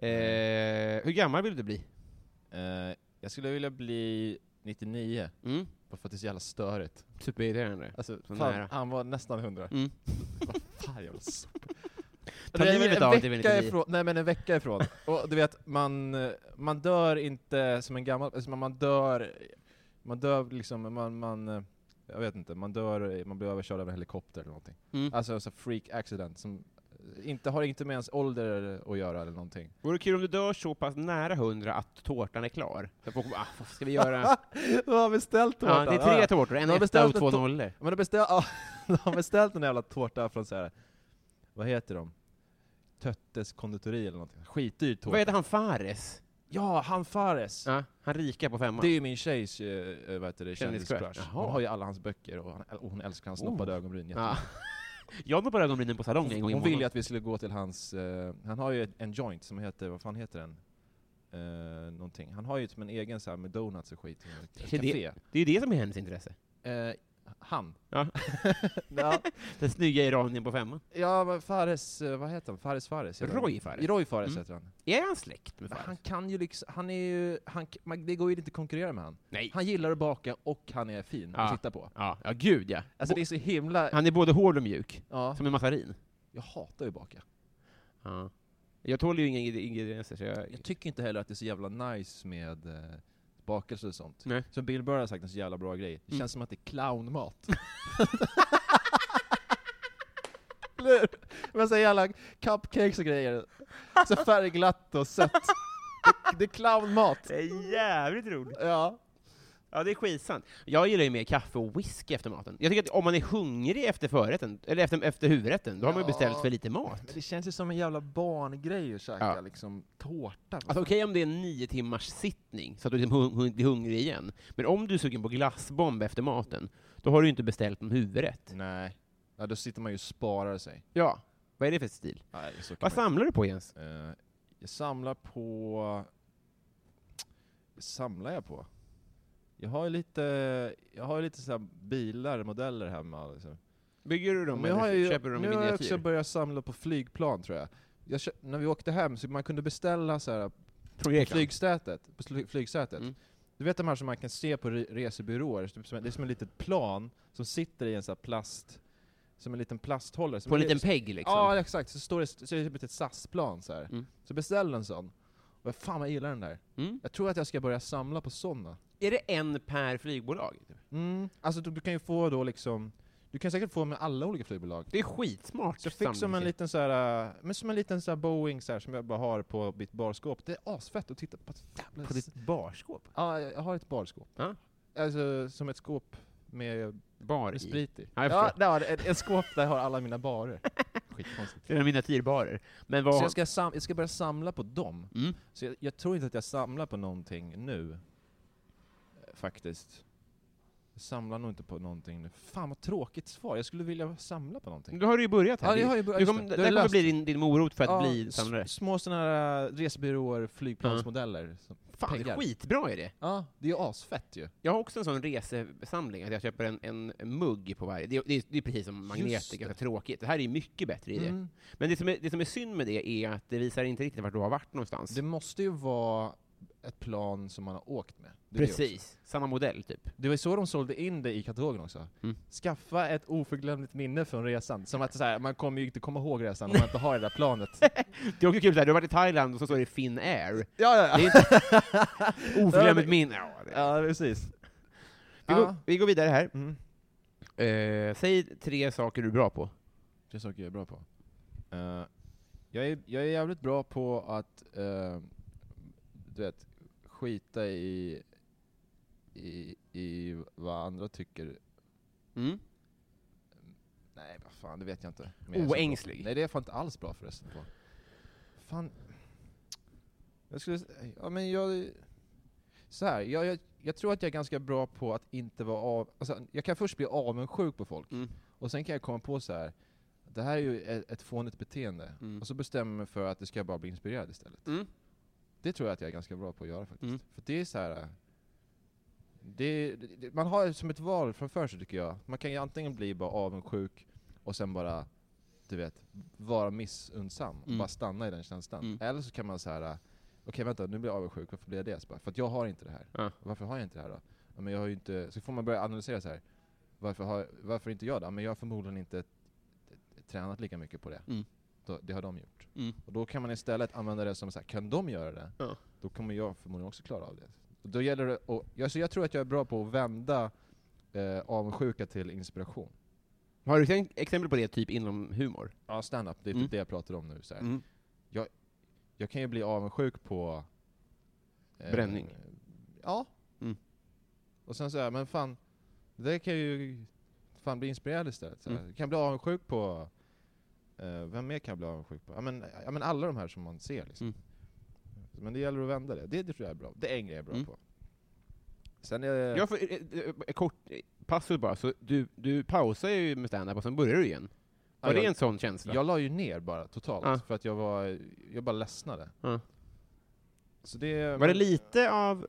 S4: Eh, hur gammal vill du bli?
S5: Eh, jag skulle vilja bli 99,
S4: Mm.
S5: bara för att det är så jävla störigt.
S4: Superirriterande.
S5: Alltså,
S4: Så
S5: fan,
S4: nära.
S5: han var nästan 100.
S4: Mm.
S5: Vad fan, jag var så-
S4: Ta
S5: Nej, men
S4: livet
S5: en
S4: av dig vill
S5: vecka
S4: inte bli.
S5: ifrån, Nej men en vecka ifrån. Och du vet, man, eh, man dör inte som en gammal, alltså man, man dör, man dör liksom, man, man, eh, jag vet inte, man dör, eh, man blir överkörd av en helikopter eller någonting.
S4: Mm.
S5: Alltså så freak accident som eh, inte har inte med ens ålder att göra eller någonting.
S4: Vore kul om du dör så pass nära 100 att tårtan är klar. Så folk bara, ah, vad ska vi göra?
S5: Du har beställt
S4: ja, det är tre tårtor, en
S5: Jag har
S4: etta
S5: beställt
S4: och
S5: en
S4: två
S5: tå-
S4: nollor.
S5: Men de, beställ, ja, de har beställt en jävla tårta från så här. vad heter de? Töttes konditori eller någonting. Skitdyr tårta.
S4: Vad heter han Fares?
S5: Ja, han Fares!
S4: Ja, han rika på femman.
S5: Det är ju min tjejs eh, vad heter det,
S4: Kändiscrush.
S5: kändiscrush.
S4: Jaha. Oh. Ah.
S5: Hon har ju alla hans böcker och, han, och hon älskar hans snoppade ögonbryn
S4: ja.
S5: jättemycket.
S4: Jag noppade ögonbrynen på salongen en gång i
S5: Hon vill ju
S4: månaden.
S5: att vi skulle gå till hans, eh, han har ju ett- en joint som heter, vad fan heter den? Uh, någonting. Han har ju som en egen så här med donuts och skit. Ett
S4: Är det-
S5: Café.
S4: Det är ju det som är hennes intresse.
S5: Eh, Han.
S4: Ja.
S5: ja,
S4: Den snygga iranien på femman.
S5: ja, men Fares, eh, vad heter han? Fares Fares? heter han.
S4: Roy Fares.
S5: Roy Fares
S4: Mm.
S5: heter han.
S4: Är han släkt med
S5: Han
S4: Fares?
S5: kan ju liksom, han är ju, han, k- man, det går ju inte att konkurrera med han.
S4: Nej.
S5: Han gillar att baka och han är fin
S4: Ja.
S5: att titta på.
S4: Ja, ja, gud ja.
S5: Alltså det är så himla,
S4: Han är både hård och mjuk,
S5: ja,
S4: som en massarin.
S5: jag hatar ju att baka.
S4: Ja. Jag tål ju inga ingre- ingredienser, så jag...
S5: Jag tycker inte heller att det är så jävla nice med eh, bakelse och sånt.
S4: Nej.
S5: Som Bill Burr har sagt en så jävla bra grej, det
S4: Mm.
S5: känns som att det är clownmat. Eller hur? Men så jävla cupcakes och grejer, så färgglatt och sött. Det, det är clownmat.
S4: Det är jävligt roligt!
S5: Ja.
S4: Ja, det är skitsant. Jag gillar ju mer kaffe och whisky efter maten. Jag tycker att om man är hungrig efter förrätten, eller efter, efter huvudrätten, då har man ju
S5: Ja.
S4: beställt för lite mat.
S5: Men det känns ju som en jävla barngrej att käka
S4: Ja.
S5: liksom tårta.
S4: Alltså okej om det är en nio timmars sittning, så att du liksom hung- hung- blir hungrig igen. Men om du är sugen på glassbomb efter maten, då har du ju inte beställt någon huvudrätt.
S5: Nej. Ja, då sitter man ju och sparar sig.
S4: Ja. Vad är det för stil?
S5: Nej, så kan
S4: Vad
S5: man...
S4: samlar du på Jens?
S5: Eh, jag samlar på... samlar jag på? Jag har ju lite, jag har ju lite så här bilar, modeller hemma. Liksom.
S4: Bygger du dem
S5: Men jag har
S4: eller
S5: ju,
S4: köper du dem i
S5: nu har jag också
S4: miniatyr?
S5: börjat samla på flygplan tror jag. jag kö- när vi åkte hem så man kunde beställa så här
S4: Från
S5: på
S4: Grekland?
S5: flygsätet. På sly- flygsätet.
S4: Mm.
S5: Du vet de här som man kan se på re resebyråer, typ som- det är som en litet plan som sitter i en sån här plast, som en liten plasthållare. som
S4: På en
S5: är-
S4: liten pegg liksom?
S5: Ja, exakt. Så står det, så är det typ ett SAS-plan så här.
S4: Mm.
S5: Så beställ en sån. Och fan vad jag gillar den där.
S4: Mm.
S5: Jag tror att jag ska börja samla på såna.
S4: Är det en per flygbolag?
S5: Mm. Alltså du, du kan ju få då liksom, du kan säkert få med alla olika flygbolag.
S4: Det är skitsmart.
S5: Så jag fick som en
S4: samlingsgrej.
S5: liten så här, äh, men som en liten så här Boeing så här, som jag bara har på mitt barskåp. Det är asfett att titta på. Ett jävla
S4: På ditt barskåp?
S5: Ja, jag har ett barskåp.
S4: Ja.
S5: Alltså som ett skåp med,
S4: Bar
S5: med
S4: i?
S5: sprit i.
S4: Ja, jag
S5: ja,
S4: förstår.
S5: där har det- ett, ett skåp där jag har alla mina barer. Skitkonstigt.
S4: Det är miniatyrbarer. Men vad...
S5: Så jag ska, sam- jag ska börja samla på dem.
S4: Mm.
S5: Så jag, jag tror inte att jag samlar på någonting nu. Eh, Faktiskt. Jag samlar nog inte på någonting nu. Fan vad tråkigt svar, jag skulle vilja samla på någonting.
S4: Du har ju börjat här.
S5: Ja, jag har ju
S4: du
S5: börjat-
S4: kom,
S5: just det.
S4: det
S5: Du
S4: där
S5: har
S4: kommer
S5: löst
S4: bli din, din morot för att
S5: Ja,
S4: bli
S5: s-
S4: samlare.
S5: Små sådana här resebyråer, flygplansmodeller. som
S4: Fan,
S5: pengar.
S4: skitbra är det!
S5: Ja, det är ju asfett ju.
S4: Jag har också en sån resesamling, att jag köper en, en mugg på varje. Det, är- det, är- det är precis som magneter,
S5: Just det.
S4: ganska tråkigt. Det här är ju mycket bättre i det.
S5: Mm.
S4: Men det som, är, det som är synd med det är att det visar inte riktigt vart du har varit någonstans.
S5: Det måste ju vara ett plan som man har åkt med. Det är det också.
S4: precis, samma modell typ.
S5: Det var ju så de sålde in det i katalogen också.
S4: Mm.
S5: Skaffa ett oförglömligt minne från resan. Som att så här, man kommer ju inte komma ihåg resan om man inte har det där planet.
S4: Det är också kul, såhär, du har varit i Thailand och så står det Finnair.
S5: Ja, ja,
S4: Det är
S5: ja.
S4: inte oförglömligt minne. Ja, det-
S5: ja precis.
S4: vi, går, vi går vidare här.
S5: Mm.
S4: Eh, säg tre saker du är bra på.
S5: Det är saker jag är bra på. Eh, jag, är, jag är jävligt bra på att, eh, du vet, skita i, i, i vad andra tycker.
S4: Mm.
S5: Nej, vad fan, det vet jag inte. Men jag är så bra.
S4: Oängslig.
S5: Nej, det är jag fan inte alls bra förresten på. Fan. Jag skulle, s- ja men jag, så här, jag, jag, jag tror att jag är ganska bra på att inte vara av, alltså, jag kan först bli avundsjuk på folk.
S4: Mm.
S5: Och sen kan jag komma på så här. det här är ju ett, ett fånigt beteende.
S4: Mm.
S5: Och så bestämmer jag mig för att det ska bara bli inspirerad istället.
S4: Mm.
S5: Det tror jag att jag är ganska bra på att göra faktiskt.
S4: Mm.
S5: För det är så här. äh, Det, det, man har som ett val framför sig tycker jag. Man kan ju antingen bli bara avundsjuk och sen bara, du vet, vara missundsam och
S4: Mm.
S5: bara stanna i den känslan.
S4: Mm.
S5: Eller så kan man så här. äh, okej vänta nu blir jag avundsjuk, varför blir jag det? Så bara, för att jag har inte det här.
S4: Ja.
S5: Varför har jag inte det här då? Ja, men jag har ju inte, så får man börja analysera så här. varför, har, varför inte jag då? Ja, Men jag har förmodligen inte t- t- tränat lika mycket på det.
S4: Mm.
S5: Då, det har de gjort.
S4: Mm.
S5: Och då kan man istället använda det som så här, kan de göra det?
S4: Ja.
S5: Då kommer jag förmodligen också klara av det. Och då gäller det att, jag, så jag tror att jag är bra på att vända eh, avundsjuka till inspiration.
S4: Har du tänkt exempel på det typ inom humor?
S5: Ja, stand-up, det är
S4: Mm.
S5: typ det jag pratar om nu. Så här. Jag kan ju bli avundsjuk på... eh,
S4: Bränning.
S5: Ja.
S4: Mm.
S5: Och sen så här, men fan, det kan ju fan bli inspirerad istället. Så här.
S4: Mm.
S5: Jag kan bli avundsjuk på... Eh, vem mer kan jag bli avundsjuk på? Ja men, ja men alla de här som man ser liksom.
S4: Mm.
S5: Men det gäller att vända det. Det, det tror jag är bra. Det är en grej jag är bra
S4: Mm.
S5: på. Sen är det...
S4: Jag får, eh, eh, kort eh, passus bara, så du, du pausar ju med stand-up och sen börjar du igen.
S5: Ja,
S4: Var det
S5: jag-
S4: en sån känsla?
S5: Jag la ju ner bara totalt,
S4: Ja.
S5: för att jag var, jag bara ledsnade.
S4: Ja.
S5: Så det,
S4: Var det lite av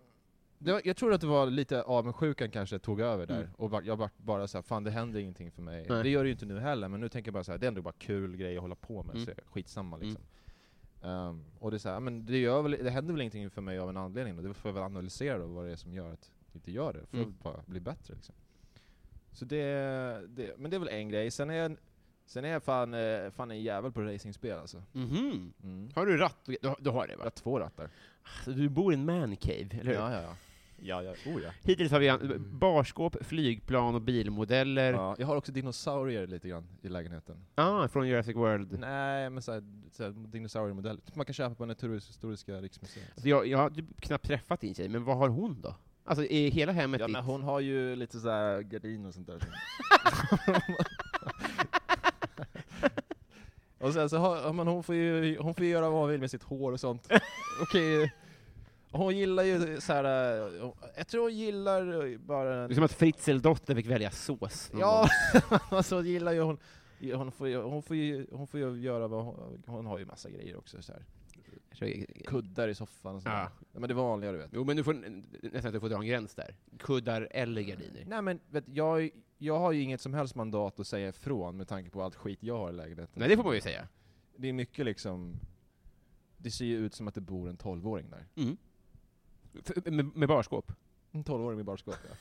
S5: det var, jag tror att det var lite avundsjukan kanske tog över där,
S4: Mm.
S5: och bara, jag vart bara såhär, fan det händer ingenting för mig.
S4: Nej.
S5: Det gör det ju inte nu heller, men nu tänker jag bara såhär, det är ändå bara kul grej att hålla på med,
S4: Mm.
S5: så skitsamma liksom. Ehm, och det är såhär, men det, gör väl, det händer väl ingenting för mig av en anledning då, det får jag väl analysera då, vad det är som gör att jag inte gör det, för
S4: Mm.
S5: att bara bli bättre liksom. Så det, det, men det är väl en grej, sen är jag, sen är jag fan, eh, fan en jävel på racingspel alltså.
S4: Mhm.
S5: Mm.
S4: Har du ratt? Du, du har det
S5: Jag
S4: va?
S5: har två rattar.
S4: Så du bor i en mancave, eller hur?
S5: Ja, ja, ja. Ja, ja. Oh, ja.
S4: Hittills har vi an- barskåp, flygplan och bilmodeller.
S5: Ja, jag har också dinosaurier lite grann i lägenheten.
S4: Ah, från Jurassic World.
S5: Nej, men såhär, såhär dinosauriemodell. Typ Man kan köpa på Naturhistoriska riksmuseet.
S4: Alltså jag, jag har typ knappt träffat din tjej, men vad har hon då? Alltså i hela hemmet
S5: Ja,
S4: ditt?
S5: men hon har ju lite såhär gardin och sånt där. och sen så har, ja, men hon får ju, hon får ju göra vad hon vill med sitt hår och sånt. Okej. Hon gillar ju såhär, eh, jag tror hon gillar bara...
S4: Det är som att Fritzeldotter fick välja sås. någon
S5: Ja,
S4: gång.
S5: alltså gillar ju hon, hon får ju, hon får ju, hon får ju göra vad hon, hon har ju massa grejer också så här.
S4: Så-
S5: Kuddar i soffan och sånt.
S4: Ja.
S5: Ja. Men det vanliga du vet.
S4: Jo, men du får nästan att du får dra en gräns där. Kuddar eller gardiner.
S5: Nej men vet, du, jag, jag har ju inget som helst mandat att säga ifrån med tanke på allt skit jag har i lägenheten.
S4: Nej, det får man ju säga.
S5: Det är mycket liksom, det ser ju ut som att det bor en 12-åring där.
S4: För, med, med barskåp.
S5: En 12-åring med barskåp ja.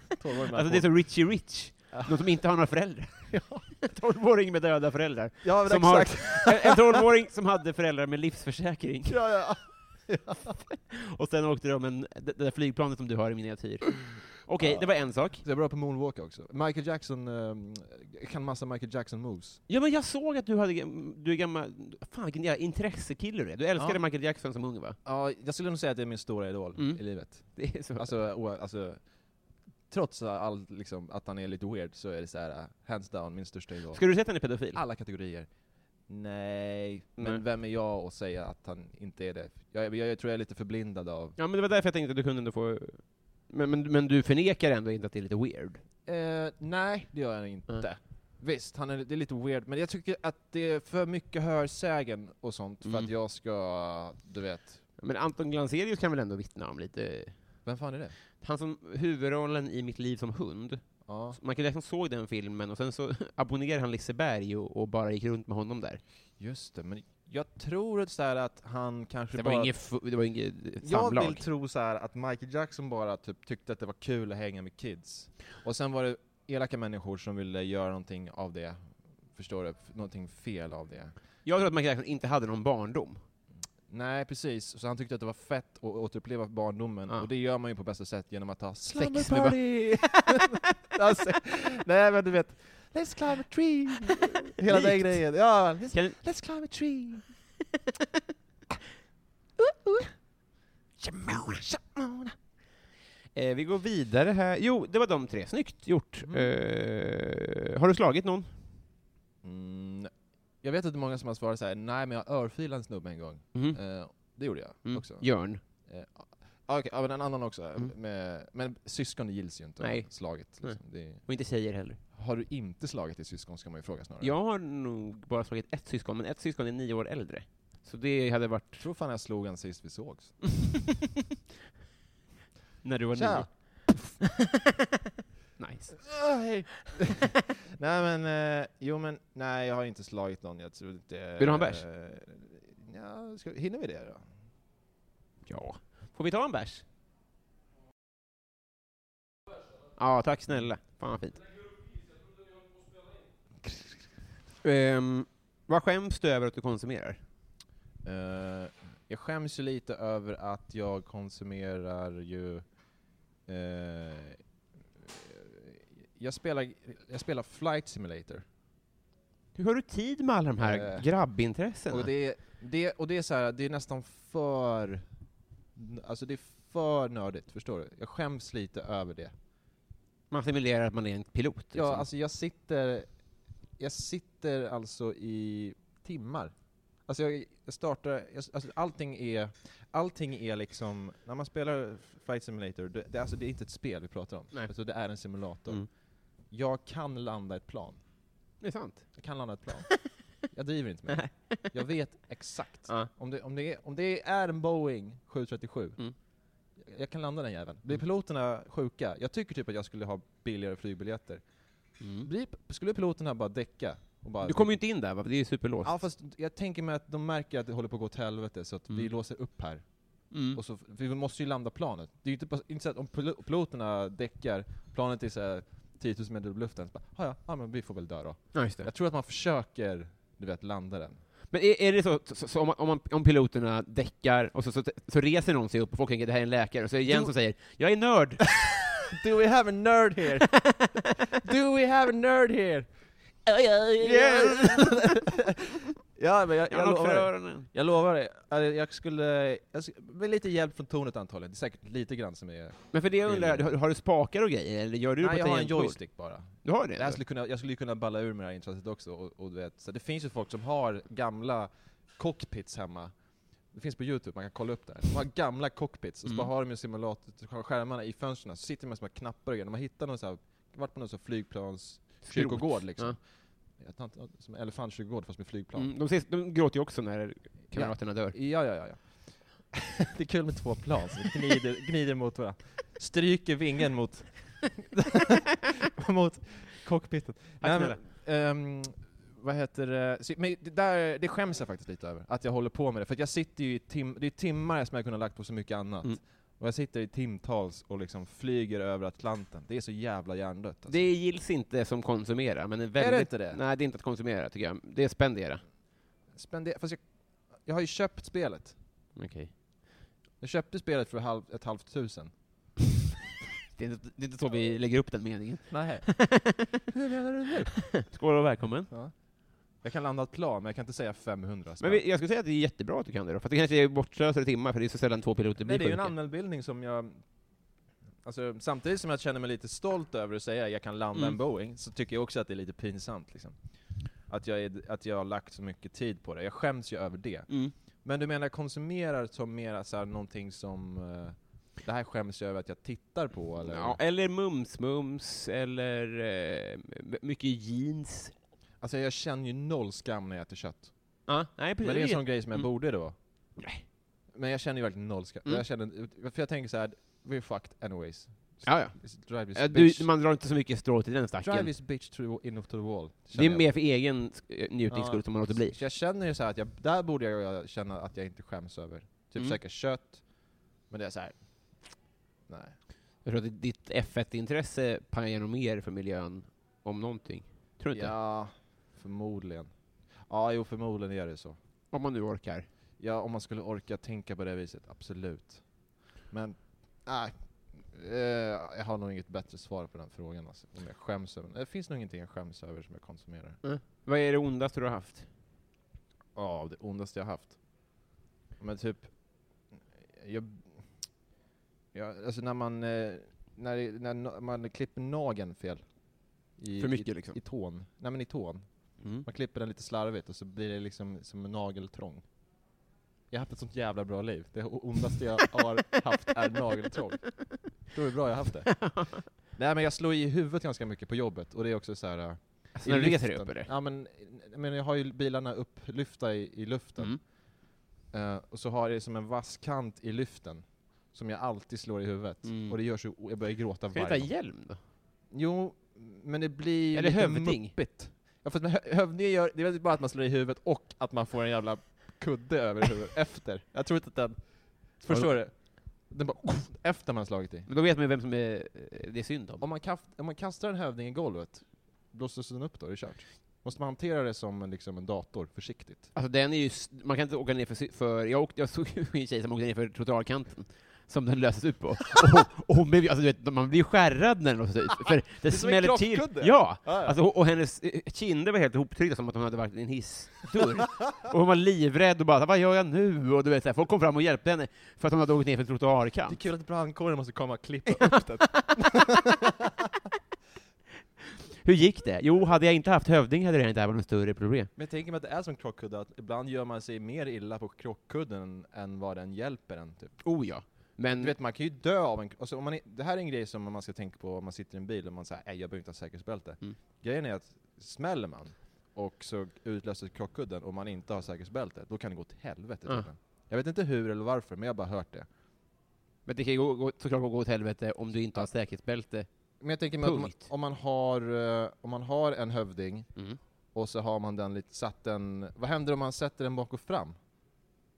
S5: 12-åring med
S4: Alltså det är
S5: alkohol.
S4: som Richie Rich, någon som inte har några föräldrar. En 12-åring med döda föräldrar.
S5: Ja men
S4: som har-
S5: exakt!
S4: En 12-åring som hade föräldrar med livsförsäkring.
S5: Ja, ja.
S4: Och sen åkte de en, det det där flygplanet som du har i miniatyr. Okej,
S5: Ja.
S4: det var en sak.
S5: Jag är bra på moonwalk också. Michael Jackson, ehm, jag kan massa Michael Jackson moves.
S4: Ja, men jag såg att du hade, du är gammal, fan vilken jävla intressekille du är. Du älskade
S5: Ja.
S4: Michael Jackson som ung va?
S5: Ja, jag skulle nog säga att det är min stora idol
S4: Mm.
S5: i livet.
S4: Det är så.
S5: Alltså, o, alltså trots allt liksom, att han är lite weird så är det så här uh, hands down min största idol.
S4: Skulle du säga att han är pedofil?
S5: Alla kategorier. Nej, men
S4: Nej.
S5: vem är jag att säga att han inte är det? Jag, jag, jag tror jag är lite förblindad av...
S4: Ja, men det var därför jag tänkte att du kunde ändå få... Men, men, men du förnekar ändå inte att det är lite weird?
S5: Eh, nej, det gör jag inte.
S4: Nej.
S5: Visst, han är, det är lite weird, men jag tycker att det är för mycket hörsägen och sånt för
S4: Mm.
S5: att jag ska, du vet.
S4: Men Anton Glanzelius kan väl ändå vittna om lite...
S5: Vem fan är det?
S4: Han som huvudrollen i Mitt liv som hund,
S5: Ja.
S4: Michael Jackson såg den filmen och sen så abonnerade han Liseberg och, och bara gick runt med honom där.
S5: Just det, men jag tror att, så här att han kanske
S4: Det
S5: bara...
S4: var inget, fu- det var inget
S5: Jag
S4: samlag.
S5: vill tro så här att Michael Jackson bara typ tyckte att det var kul att hänga med kids. Och sen var det elaka människor som ville göra någonting av det. Förstår du? F- Någonting fel av det.
S4: Jag tror att Michael Jackson inte hade någon barndom.
S5: Nej, precis. Så han tyckte att det var fett att återuppleva barndomen.
S4: Ja.
S5: Och det gör man ju på bästa sätt genom att ha sex
S4: Slumber
S5: med bar- alltså, Nej, men du vet. Let's climb a tree! Hela den
S4: Likt.
S5: grejen. Ja, let's,
S4: Kan,
S5: let's climb a tree!
S4: eh, vi går vidare här. Jo, det var de tre. Snyggt gjort.
S5: Mm.
S4: Eh, har du slagit någon?
S5: Mm, jag vet att det är många som har svarat så här. nej men jag örfilade en snubbe en gång.
S4: Mhm.
S5: Eh, det gjorde jag
S4: Mm.
S5: också.
S4: Jörn.
S5: Ah, Okej, ja, men en annan också.
S4: Mm.
S5: Med, men syskon gills ju inte
S4: Nej.
S5: Nej. slaget. Liksom. Det,
S4: Och inte tjejer heller.
S5: har du inte slagit ditt syskon ska man ju fråga snarare.
S4: Jag har nog bara slagit ett syskon, men ett syskon är nio år äldre. Så det hade varit...
S5: Jag tror fan jag slog han sist vi sågs.
S4: När du var
S5: Tja!
S4: nio. Nice.
S5: Ah, hej. nej men, eh, jo men, nej jag har inte slagit någon. Jag tror inte...
S4: Vill du ha en bärs?
S5: eh, Ja, ska, hinner vi det då?
S4: Ja. Får vi ta en bärs? Ja, tack snälla. Fan vad fint. Ehm, vad skäms du över att du konsumerar?
S5: Eh, jag skäms ju lite över att jag konsumerar ju... eh, jag, spelar, jag spelar Flight Simulator.
S4: Hur har du tid med alla de här
S5: Eh,
S4: grabbintressena?
S5: Och det, är- det, och det är så här, det är nästan för... Alltså det är för nördigt, förstår du? Jag skäms lite över det.
S4: Man simulerar att man är en pilot. Liksom.
S5: Ja, alltså jag sitter... Jag sitter alltså i timmar. Alltså jag, jag startar... Jag, alltså allting är... Allting är liksom... När man spelar Flight Simulator, det, det, alltså det är inte ett spel vi pratar om.
S4: Nej.
S5: Alltså det är en simulator.
S4: Mm.
S5: Jag kan landa ett plan.
S4: Det är sant.
S5: Jag kan landa ett plan. Jag driver inte med det. Jag vet exakt.
S4: Ja.
S5: Om, det, om, det är, om det är en Boeing 737,
S4: Mm.
S5: jag kan landa den jäveln. Blir piloterna sjuka? Jag tycker typ att jag skulle ha billigare flygbiljetter. Blir, skulle piloterna bara däcka? Och bara,
S4: Du kommer ju inte in där va? Det är ju superlåst.
S5: Ja fast jag tänker mig att de märker att det håller på att gå åt helvete så att vi
S4: Mm.
S5: låser upp här.
S4: Mm.
S5: Och så, för vi måste ju landa planet. Det är ju inte, bara, inte så att om pil- piloterna däckar, planet är såhär 10 000 meter upp i luften, så bara, "Ah, ja, ja men vi får väl dö då.
S4: Ja, just det.
S5: Jag tror att man försöker, du vet, landa den.
S4: Men är, är det så, så, så om, man- om, man, om piloterna däckar och så, så, så reser någon sig upp och folk tänker det här är en läkare, och så är det Jens som säger ”Jag är nörd”.
S5: Do we have a nerd here? Do we have a nerd here? ja men jag,
S4: Jag
S5: jag,
S4: har något för
S5: lovar det.
S4: öronen.
S5: Jag lovar det. Alltså, Jag skulle, jag skulle, med lite hjälp från tornet antagligen, det är säkert lite grann som är...
S4: Men för det jag undrar, har, har du spakar och grejer, eller gör du det
S5: Nej
S4: på
S5: jag har en
S4: tangentbord?
S5: joystick bara.
S4: Du har det? alltså?
S5: Det här skulle kunna, jag skulle ju kunna balla ur med det här intresset också, och, och du vet, så det finns ju folk som har gamla cockpits hemma. Det finns på youtube, man kan kolla upp det här. De har gamla cockpits, och så
S4: Mm.
S5: bara har de ju simulator, skärmarna i fönstren, så sitter man med knappar och grejer. Man hittar någon så här, varit på någon så här flygplans kyrkogård liksom. Jag tar inte- Som en elefantkyrkogård fast med flygplan.
S4: Mm, de, ses, de gråter ju också när kamraterna dör.
S5: Ja, ja, ja. ja. det är kul med två plan som gnider, gnider mot varandra. Stryker vingen mot, mot cockpiten. Nej, men, ehm, vad heter det? Så- Men det, där, det skäms jag faktiskt lite över, att jag håller på med det. För att jag sitter ju i tim, det är timmar som jag kunde ha lagt på så mycket annat.
S4: Mm.
S5: Och jag sitter i timtals och liksom flyger över Atlanten. Det är så jävla hjärndött. Alltså.
S4: Det gills inte som konsumera, men en
S5: är
S4: väldigt...
S5: det inte det?
S4: Nej, det är inte att konsumera, tycker jag. Det är spendera.
S5: Spender, fast jag, jag har ju köpt spelet.
S4: Okej.
S5: Jag köpte spelet för halv, ett halvt tusen.
S4: Det, är inte- det är inte så vi lägger upp den meningen.
S5: Nej. Hur menar du nu?
S4: Skål och välkommen.
S5: Jag kan landa ett plan, men jag kan inte säga 500
S4: Men vi, jag skulle säga att det är jättebra att du kan det då, för att det kanske är bortslösade timmar, för det är så sällan två piloter blir
S5: Nej, det är ju en
S4: sjuka.
S5: allmänbildning som jag... Alltså, samtidigt som jag känner mig lite stolt över att säga att jag kan landa
S4: Mm.
S5: en Boeing, så tycker jag också att det är lite pinsamt. Liksom. Att, jag är, att jag har lagt så mycket tid på det. Jag skäms ju över det.
S4: Mm.
S5: Men du menar jag konsumerar som mera så här, någonting som... eh, det här skäms jag över att jag tittar på, eller?
S4: Ja, eller mums-mums, eller eh, m- mycket jeans.
S5: Alltså jag känner ju noll skam när jag äter kött.
S4: Ja, nej, precis.
S5: Men det är en sån grej som jag
S4: Mm.
S5: borde då.
S4: Nej.
S5: Men jag känner ju verkligen noll skam.
S4: Mm.
S5: Jag känner, för jag tänker så här: we're fucked anyways.
S4: Ja, ja.
S5: It's Drive this
S4: Eh,
S5: bitch.
S4: Du, man drar inte så mycket strå till den
S5: Drive
S4: stacken.
S5: this bitch to, in to the wall.
S4: Det
S5: känner
S4: är
S5: jag.
S4: mer för egen eh, njutnings skull som man låter bli.
S5: Så jag känner ju så här att jag, där borde jag ju känna att jag inte skäms över. Typ
S4: Mm.
S5: käka kött, men det är så här. nej.
S4: Jag tror att ditt F1-intresse pajar nog mer för miljön, om någonting. Tror du inte?
S5: Ja, förmodligen. Ja, jo förmodligen är det så.
S4: Om man nu orkar.
S5: Ja, om man skulle orka tänka på det viset, absolut. Men, nej. Eh, jag har nog inget bättre svar på den frågan alltså, om jag skäms över. Det finns nog ingenting jag skäms över som jag konsumerar.
S4: Vad är det ondaste du har haft?
S5: Ja, det ondaste jag haft. Men typ, jag, jag, alltså när man, eh, när, det- när na- man klipper nageln fel. I,
S4: För mycket,
S5: i,
S4: liksom.
S5: I tån. Nej men i tån. Man klipper den lite slarvigt och så blir det liksom som en nageltrång. Jag har haft ett sånt jävla bra liv. Det o- ondaste jag har haft är nageltrång. Tror du hur bra jag har haft det? Nej men jag slår i huvudet ganska mycket på jobbet och det är också så här. eh,
S4: Alltså, när
S5: i
S4: du reser dig
S5: luften.
S4: upp, eller?
S5: Ja men, men jag har ju bilarna upplyfta i, i luften.
S4: Mm.
S5: Eh, och så har jag det som en vass kant i lyften, som jag alltid slår i huvudet.
S4: Mm.
S5: Och det gör så, o- jag börjar gråta
S4: Ska du inte ha
S5: varje gång.
S4: hjälm då?
S5: Jo, men det blir ju
S4: Eller
S5: lite
S4: hövding.
S5: muppigt. Ja, fast med hö- hövding gör, det är väl bara att man slår i huvudet och att man får en jävla kudde över huvudet efter. Jag tror inte att den, förstår du? Den bara, efter man har slagit i.
S4: Men då vet man ju vem som är, eh, det är synd om.
S5: Om man, kaf- om man kastar en hövding i golvet, blåses den upp då? Är det kört? Måste man hantera det som en, liksom en dator, försiktigt?
S4: Alltså den är ju, s- man kan inte åka ner för, sy- för jag, åkte, jag såg ju en tjej som åkte ner för trottoarkanten, som den löses ut på. Och, och hon blev, ju- alltså, du vet, man blir ju skärrad när den låses ut, för det,
S5: som en
S4: smäller till.
S5: krockkudde.
S4: Ja!
S5: Ja, ja.
S4: Alltså, och, och hennes eh, kinder var helt ihoptryckta som att hon hade varit i en hissdörr. och hon var livrädd och bara ”Vad gör jag nu?” och du vet, så här, folk kom fram och hjälpte henne för att hon hade åkt ner för
S5: Det är
S4: trottoarkant.
S5: kul att brandkåren måste komma och klippa upp den.
S4: Hur gick det? Jo, hade jag inte haft hövding hade det inte här varit något större problem.
S5: Men jag tänker mig att det är som krockkudde, att ibland gör man sig mer illa på krockkudden än vad den hjälper en. Typ.
S4: Oh ja. Men,
S5: Du vet, man kan ju dö av en alltså, om man är, Det här är en grej som man ska tänka på om man sitter i en bil och man säger nej jag behöver inte ha säkerhetsbälte.
S4: Mm.
S5: Grejen är att smäller man och så utlöser krockkudden och man inte har säkerhetsbälte, då kan det gå till helvete.
S4: Ja.
S5: tydligen. Jag vet inte hur eller varför, men jag har bara hört det.
S4: Men det kan ju gå, gå, såklart gå åt helvete om du inte har säkerhetsbälte.
S5: Men jag tänker mig att om,
S4: Punkt.
S5: om, man har, eh, om man har en hövding
S4: Mm.
S5: och så har man den lite, satt den, vad händer om man sätter den bak och fram?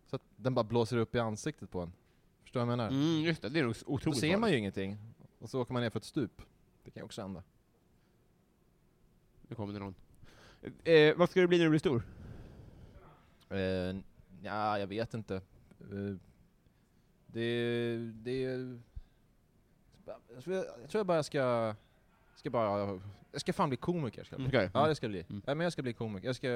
S5: Så att den bara blåser upp i ansiktet på en. Förstår du vad jag menar?
S4: Mm, just det, det är nog otroligt
S5: Då ser man
S4: farligt.
S5: ju ingenting. Och så åker man ner för ett stup. Det kan ju också hända.
S4: Nu kommer det någon. Eh, vad ska du bli när du blir stor?
S5: Eh, ja, jag vet inte. Eh, det, det... Jag tror jag, jag tror jag bara ska... Ska bara... Jag ska fan bli komiker. Ska jag bli.
S4: Okej.
S5: Ja, det ska jag bli.
S4: Mm.
S5: Ja, men jag ska bli komiker. Jag ska,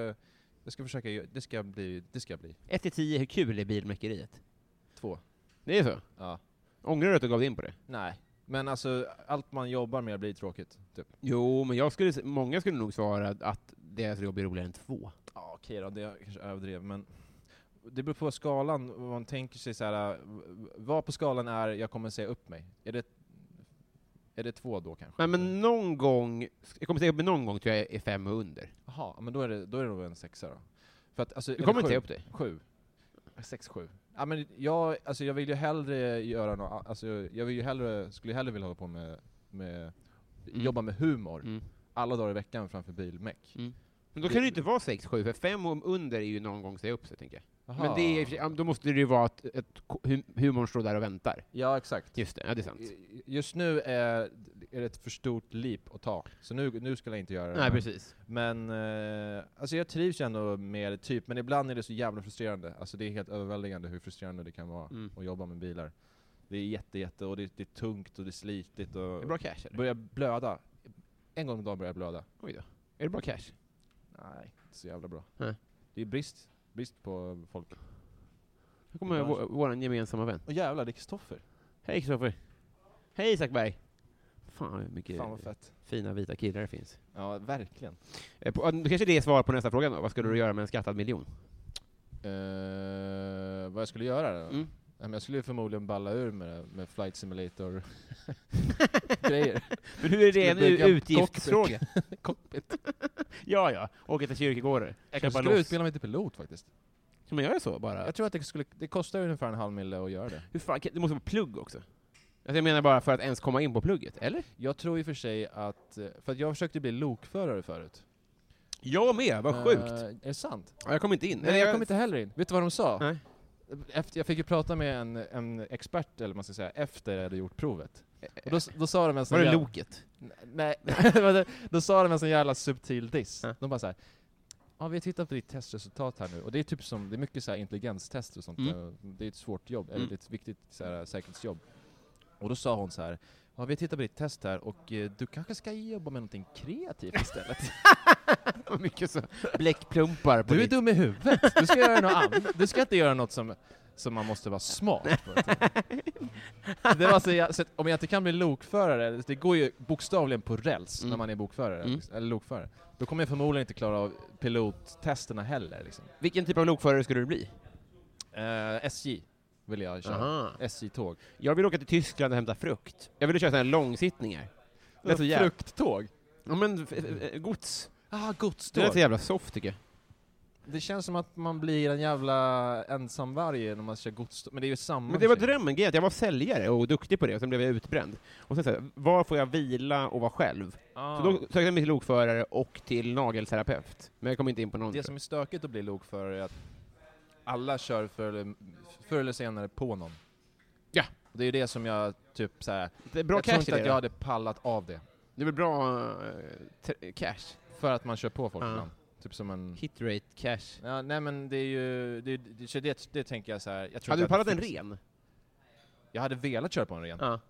S5: jag ska försöka... gö- Det ska jag bli. Det ska jag bli.
S4: 1 till 10, hur kul är bilmäkeriet?
S5: Två.
S4: Det är så?
S5: Ja.
S4: Ångrar du att du gav dig in på det?
S5: Nej. Men alltså, allt man jobbar med blir tråkigt. Typ.
S4: Jo, men jag skulle, s- många skulle nog svara att deras jobb är roligare än två.
S5: Ja, okej då, det kanske överdrev, men det beror på skalan, vad man tänker sig så här, äh, v- vad på skalan är jag kommer säga upp mig? Är det, är det två då kanske?
S4: Nej, men någon gång, jag kommer säga upp mig någon gång tror jag är fem och under.
S5: Jaha, men då är det, då är det nog en sexa då. För att, alltså,
S4: Du
S5: eller
S4: kommer inte
S5: sju,
S4: säga upp dig.
S5: Sju. Sex, sju. Ja, men jag, alltså, jag vill ju hellre göra något, alltså, jag vill ju hellre, skulle ju hellre vilja hålla på med, med
S4: Mm.
S5: jobba med humor
S4: Mm.
S5: alla dagar i veckan framför bilmeck.
S4: Men då kan det ju inte vara sex, sju, för fem och under är ju någon gång säga upp sig, tänker jag.
S5: Jaha.
S4: Men det är, i och för sig- ja, då måste det ju vara att, att ko- hum- humorn står där och väntar.
S5: Ja, exakt.
S4: Just det, ja, det är sant.
S5: I- Just nu är, är det ett för stort leap att ta, så nu, nu skulle jag inte göra det.
S4: Nej, precis.
S5: Men eh, alltså jag trivs ju ändå med det, typ, men ibland är det så jävla frustrerande. Alltså det är helt överväldigande hur frustrerande det kan vara
S4: Mm.
S5: att jobba med bilar. Det är jätte, jätte och det, det är tungt och det är slitigt och...
S4: Är det bra cash, eller?
S5: börjar blöda. En gång om dagen börjar jag blöda.
S4: Oj då. Är det bra cash?
S5: Nej, inte så jävla bra.
S4: Nej.
S5: Det är brist, brist på folk.
S4: Här kommer vår, vår gemensamma vän.
S5: Och jävlar, det är Kristoffer.
S4: Hej Kristoffer! Hej Isak Berg! Fan hur mycket
S5: Fan vad fett.
S4: fina vita killar det finns.
S5: Ja, verkligen.
S4: Eh, på- ah, Då kanske det är svar på nästa fråga då. Vad skulle
S5: Mm.
S4: du göra med en skattad miljon?
S5: Eh, vad jag skulle göra då?
S4: Mm.
S5: Nej, men jag skulle ju förmodligen balla ur med, det- med flight simulator grejer.
S4: Men hur är det en
S5: Skulle bygga
S4: u-
S5: en
S4: utgiftsfråga? ja, ja. Åka till Kyrkogården. Köpa
S5: Jag kanske skulle
S4: loss.
S5: utbilda mig till pilot faktiskt.
S4: Ja, men jag är så bara.
S5: Jag tror att det skulle, det kostar ungefär en halv mille att göra det.
S4: Hur fan, kan- det måste vara plugg också. Alltså, jag menar bara för att ens komma in på plugget, eller?
S5: Jag tror i och för sig att, eh, för att jag försökte bli lokförare förut.
S4: Jag med, vad sjukt!
S5: Eh, är det sant?
S4: Ja, jag kom inte in.
S5: Nej, jag kom inte Eh, heller in. Vet du vad de sa?
S4: Nej.
S5: Efter, jag fick ju prata med en, en expert, eller vad man ska säga, efter jag hade gjort provet. Och eh, då, s- då sa de en sån
S4: Var det
S5: jävla-
S4: loket?
S5: Nej, men då- då sa de en sån jävla subtil diss.
S4: Ja.
S5: De bara såhär, ja vi tittar på ditt testresultat här nu, och det är typ som, det är mycket så här intelligenstester och sånt,
S4: Mm.
S5: där. det är ett svårt jobb, eller
S4: Mm.
S5: det är ett viktigt så här, säkerhetsjobb. Och då sa hon så här, ja vi tittar på ditt test här, och eh, du kanske ska jobba med någonting kreativt istället.
S4: Vad mycket så bläckplumpar på
S5: du är
S4: ditt-
S5: dum i huvudet, du ska göra något annat. Du ska inte göra något som, som man måste vara smart för. Det var så jag, så att om jag inte kan bli lokförare, det går ju bokstavligen på räls
S4: Mm.
S5: när man är bokförare,
S4: Mm.
S5: liksom, eller lokförare. Då kommer jag förmodligen inte klara av pilottesterna heller. Liksom.
S4: Vilken typ av lokförare skulle du bli?
S5: Eh, SJ vill jag köra.
S4: Aha.
S5: SJ-tåg.
S4: Jag vill åka till Tyskland och hämta frukt. Jag ville köra sådana här långsittningar. Det lät så jävla...
S5: Frukttåg?
S4: Ja men, f- f- gods.
S5: Ah,
S4: Det lät så
S5: godståg.
S4: jävla soft tycker jag.
S5: Det känns som att man blir en jävla ensamvarg när man kör godståg, men det är ju samma.
S4: Men det var
S5: tjej.
S4: drömmen, grejen är att jag var säljare och duktig på det, och sen blev jag utbränd. Och sen så här, var får jag vila och vara själv?
S5: Ah.
S4: Så då sökte jag mig till lokförare och till nagelterapeut. Men jag kom inte in på någon.
S5: Det
S4: tror
S5: som är stökigt att bli lokförare är att alla kör förr eller, förr eller senare på någon.
S4: Ja.
S5: Det är ju det som jag typ såhär,
S4: jag. det är bra
S5: jag
S4: cash i
S5: tror inte
S4: det.
S5: att jag
S4: då.
S5: hade pallat av det.
S4: Det blir bra eh, te- cash.
S5: För att man kör på folk
S4: Ja.
S5: ibland. Typ som en...
S4: Hitrate cash.
S5: Ja, nej men det är ju, det, det, så det, det tänker jag såhär, jag tror
S4: Hade du
S5: inte att-
S4: pallat en ren?
S5: Jag hade velat köra på en ren.
S4: Ja.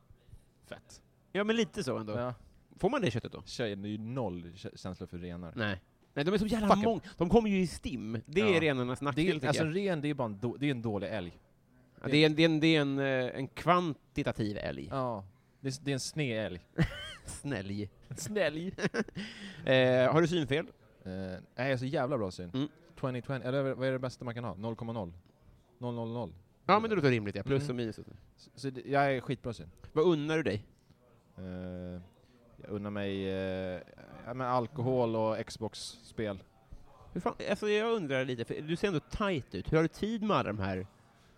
S5: Fett.
S4: ja, men lite så ändå.
S5: Ja.
S4: Får man det köttet då?
S5: Tjejer, det är ju noll k- känsla för renar.
S4: Nej. Nej, de är så jävla
S5: Fuck 'em.
S4: många. De kommer ju i stim. Det är
S5: Ja.
S4: renarnas
S5: Det
S4: nackdel,
S5: är,
S4: tycker
S5: alltså en
S4: jag.
S5: ren, det är bara en, då, det är en dålig älg.
S4: Ja, Det är, en, det är, en, det är en, eh, en kvantitativ älg.
S5: Ja. Det är, det är en sned älg.
S4: Snälj. Snälj. eh, har du synfel?
S5: Eh, nej, jag är så jävla bra syn.
S4: Mm.
S5: 2020, eller vad är det bästa man kan ha? 0,0? 000?
S4: Ja, men det låter rimligt. Ja. Plus
S5: Mm.
S4: och minus.
S5: Så, så det, jag är skitbra syn.
S4: Vad unnar du dig?
S5: Eh, jag unnar mig eh, ja, men alkohol och Xbox-spel.
S4: Hur fan, alltså jag undrar lite, för du ser ändå tight ut. Hur har du tid med alla de här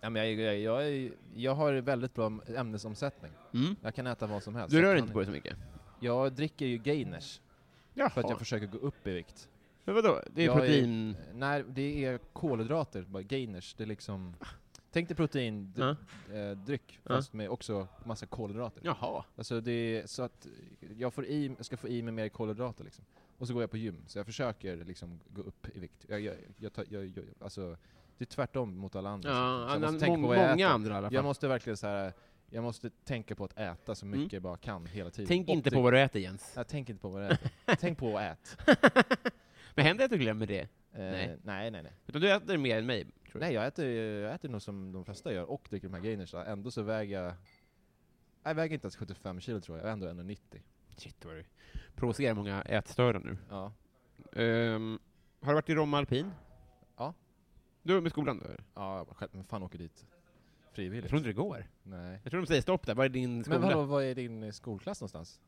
S5: Ja, men jag, jag, jag, är- jag har väldigt bra ämnesomsättning.
S4: Mm.
S5: Jag kan äta vad som helst.
S4: Du
S5: Jag
S4: rör
S5: kan-
S4: inte på dig så mycket?
S5: Jag dricker ju gainers
S4: Jaha.
S5: för att jag försöker gå upp i vikt.
S4: Men vadå? Det är
S5: Jag är-
S4: protein...
S5: Nej, det är kolhydrater, bara gainers. Det är liksom... Tänk dig
S4: Ja.
S5: proteindryck, eh, dryck,
S4: Ja.
S5: fast med också massa kolhydrater.
S4: Jaha.
S5: Alltså det är så att jag, får i, jag ska få i mig mer kolhydrater liksom. Och så går jag på gym, så jag försöker liksom gå upp i vikt. Jag, jag, jag, tar- jag, jag, alltså, det är tvärtom mot alla andra.
S4: Ja,
S5: Så jag
S4: annan-
S5: måste tänka
S4: mång-
S5: på vad jag
S4: många
S5: äter.
S4: andra i alla fall.
S5: Jag måste verkligen så här. jag måste tänka på att äta så mycket jag bara kan hela tiden.
S4: Mm. Tänk
S5: Och
S4: inte
S5: det-
S4: på vad du äter, Jens.
S5: Jag tänker inte på vad jag äter. Tänk på att äta.
S4: Men händer det att du glömmer det?
S5: Eh,
S4: Nej.
S5: nej. nej, nej, nej.
S4: Utan du äter mer än mig, tror jag.
S5: jag äter, jag äter nog som de flesta gör och dricker de här gainersa. Ändå så väger jag... Jag väger inte ens 75 kilo tror jag, jag är ändå 1,90.
S4: Shit, vad du provocerar många ätstörda nu.
S5: Ja.
S4: Ehm, har du varit i Romme Alpin?
S5: Ja.
S4: Du var med skolan då? eller?
S5: Ja, jag bara, själv, men fan åker dit
S4: Jag
S5: frivilligt?
S4: tror inte det går.
S5: Nej.
S4: Jag tror de säger stopp där, var är din skola?
S5: Men vadå, var är din eh, skolklass någonstans?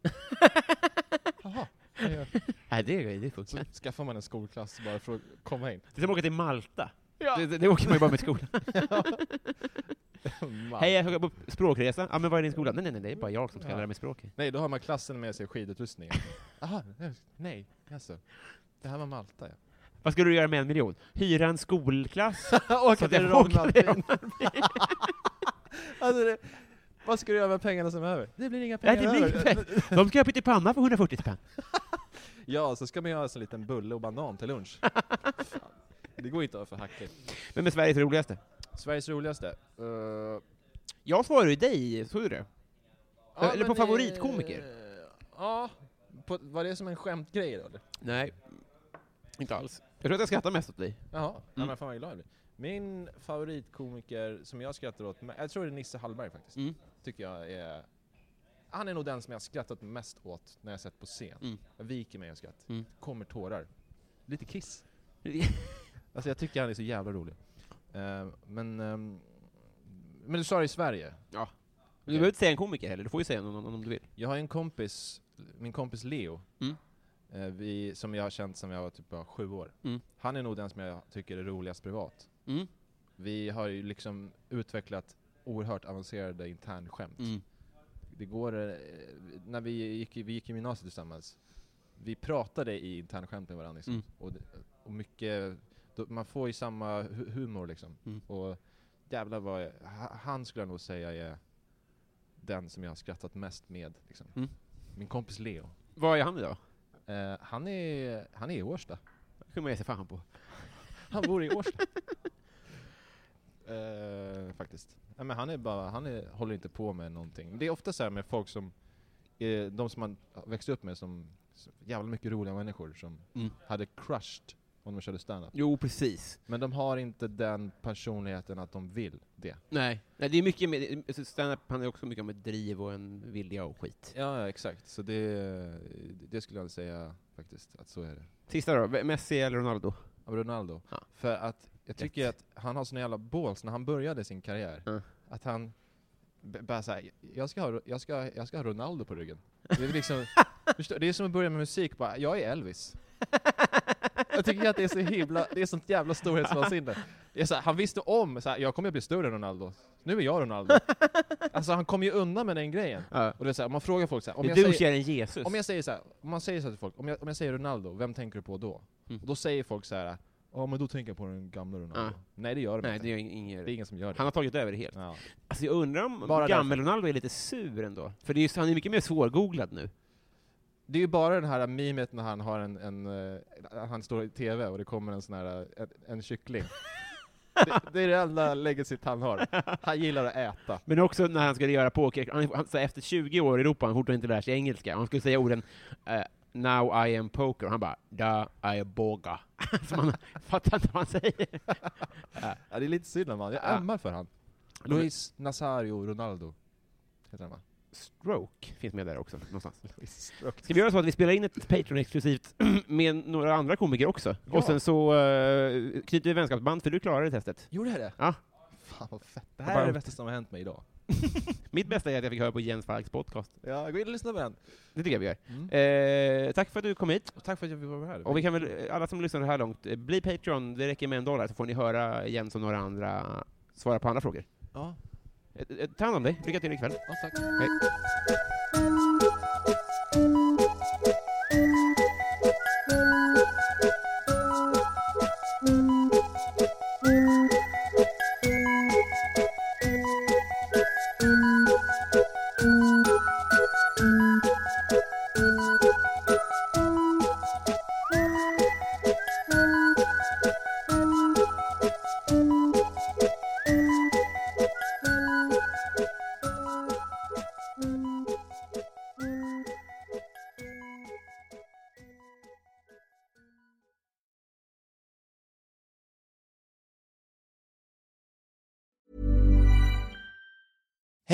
S5: Jaha. vad gör-
S4: Nej, det, är- det
S5: Så
S4: funkar inte.
S5: skaffar man en skolklass bara för att komma in.
S4: Det är som att åka till Malta. Det, det, det åker man ju bara med skolan.
S5: Man.
S4: Hej, jag ska gå på språkresa. Ja, men var är din skola? Nej, nej, nej, det är bara jag som ska
S5: Ja.
S4: lära mig språk.
S5: Nej, då har man klassen med sig skidutrustning. Jaha, nej, nej, alltså. Det här var Malta ja.
S4: Vad ska du göra med en miljon? Hyra en skolklass? Så
S5: Åka
S4: att jag åker till Rom
S5: Alltså, det, vad ska du göra med pengarna som är över? Det blir inga
S4: Nej,
S5: pengar
S4: det blir
S5: över.
S4: inte. De ska ha pyttipanna för 140 spänn.
S5: Ja, så ska man göra en liten bulle och banan till lunch. Fan, det går inte att ha för hackigt.
S4: Vem är Sveriges roligaste?
S5: Sveriges roligaste? Eh,
S4: Jag svarar ju dig, såg du det?
S5: ja,
S4: Eller på
S5: men,
S4: favoritkomiker.
S5: eh, Ja, på, var det som en skämtgrej då eller?
S4: Nej, inte alls. Jag tror att jag skrattar mest åt dig.
S5: Jaha, Mm. ja, men fan vad glad jag blir. Min favoritkomiker som jag skrattar åt, me- jag tror det är Nisse Hallberg faktiskt.
S4: Mm.
S5: Tycker jag är... Han är nog den som jag har skrattat mest åt när jag sett på scen.
S4: Mm.
S5: Jag viker mig av skratt.
S4: Mm.
S5: Kommer tårar. Lite kiss. Alltså jag tycker han är så jävla rolig. Eh, men... ehm, men du sa det i Sverige.
S4: Du behöver inte säga en komiker heller, du får ju säga någon annan om du vill.
S5: Jag har en kompis, min kompis Leo,
S4: Mm.
S5: eh, vi, som jag har känt sedan jag var typ bara sju år.
S4: Mm.
S5: Han är nog den som jag tycker är roligast privat.
S4: Mm.
S5: Vi har ju liksom utvecklat oerhört avancerade internskämt.
S4: Mm.
S5: Det går, eh, när vi gick, i- vi gick i gymnasiet tillsammans, vi pratade i internskämt med varandra liksom.
S4: Mm.
S5: och, det- och mycket, då, man får ju samma hu- humor liksom.
S4: Mm.
S5: Och jävlar vad, jag, ha- han skulle jag nog säga är den som jag har skrattat mest med liksom.
S4: Mm.
S5: Min kompis Leo.
S4: Vad är han idag?
S5: Eh, han, är, han är i Årsta.
S4: Det kunde man ge sig fan på.
S5: Han bor i Årsta. Eh, faktiskt. Nej, men han är bara, han är, håller inte på med någonting. Det är ofta så här med folk som, eh, de som man växte upp med som som jävla mycket roliga människor som
S4: Mm.
S5: hade crushed om de körde standup.
S4: Jo, precis.
S5: Men de har inte den personligheten att de vill det.
S4: Nej, Nej det är mycket mer, alltså, stand-up handlar ju också mycket om ett driv och en vilja och skit.
S5: Ja, exakt. Så det, det skulle jag säga faktiskt, att så är det.
S4: Sista då, V- Messi eller Ronaldo?
S5: av Ronaldo.
S4: Ja.
S5: För att jag tycker att han har sån jävla balls när han började sin karriär.
S4: Ja.
S5: Att han b- bara såhär, jag ska, ha, jag, ska, jag ska ha Ronaldo på ryggen. Det är, liksom, förstår, det är som att börja med musik, bara, jag är Elvis. Jag tycker att det är så himla, det är sånt jävla storhetsvansinne. Det är så här, han visste om, så här, jag kommer att bli större än Ronaldo. Nu är jag Ronaldo. Alltså han kom ju undan med den grejen.
S4: Ja.
S5: Och det är så här, man frågar folk så här, om
S4: Om
S5: jag
S4: du
S5: säger-
S4: säger en Jesus.
S5: om jag säger så här, om man säger så här till folk, om jag, om jag säger Ronaldo, vem tänker du på då?
S4: Mm.
S5: Och då säger folk så här, ja men då tänker jag på den gamla Ronaldo.
S4: Ja.
S5: Nej det gör de
S4: Nej,
S5: inte.
S4: det är ingen
S5: Det är ingen som gör det.
S4: Han har tagit över det helt.
S5: Ja.
S4: Alltså jag undrar om
S5: Bara
S4: gammel-Ronaldo är lite sur ändå. För det är ju, han är mycket mer svårgooglad nu.
S5: Det är ju bara den här mimet när han har en, en eh, han står i TV och det kommer en sån här, eh, en, en kyckling. det, det är det enda legacyt han har. Han gillar att äta.
S4: Men också när han skulle göra poker, han, han, så här, efter 20 år i Europa, han fortfarande inte lärt sig engelska, och han skulle säga orden eh, ”Now I am poker”, och han bara ”Da I am boga”. så man fattar inte vad han säger.
S5: Ja, det är lite synd om han. jag
S4: Ja.
S5: ömmar för han. Luis Nazario Ronaldo. Heter han va?
S4: Stroke finns med där också, någonstans. Ska vi göra så att vi spelar in ett Patreon-exklusivt med några andra komiker också?
S5: Ja.
S4: Och sen så eh, knyter vi vänskapsband, för du klarade testet.
S5: Gjorde jag det?
S4: Ja.
S5: Fan vad fett. Det
S4: Vad
S5: här är det
S4: varmt.
S5: bästa som har hänt mig idag.
S4: Mitt bästa är att jag fick höra på Jens Falks podcast.
S5: Ja, gå in och lyssna på den.
S4: Det tycker jag vi gör.
S5: Mm.
S4: Eh, tack för att du kom hit.
S5: Och tack för att jag fick vara här.
S4: Och vi kan väl, alla som lyssnar så här långt, eh, bli Patreon, det räcker med en dollar så får ni höra Jens och några andra svara på andra frågor.
S5: Ja,
S4: Eh, eh, Ta hand om dig. Lycka till ikväll.
S5: ja tack.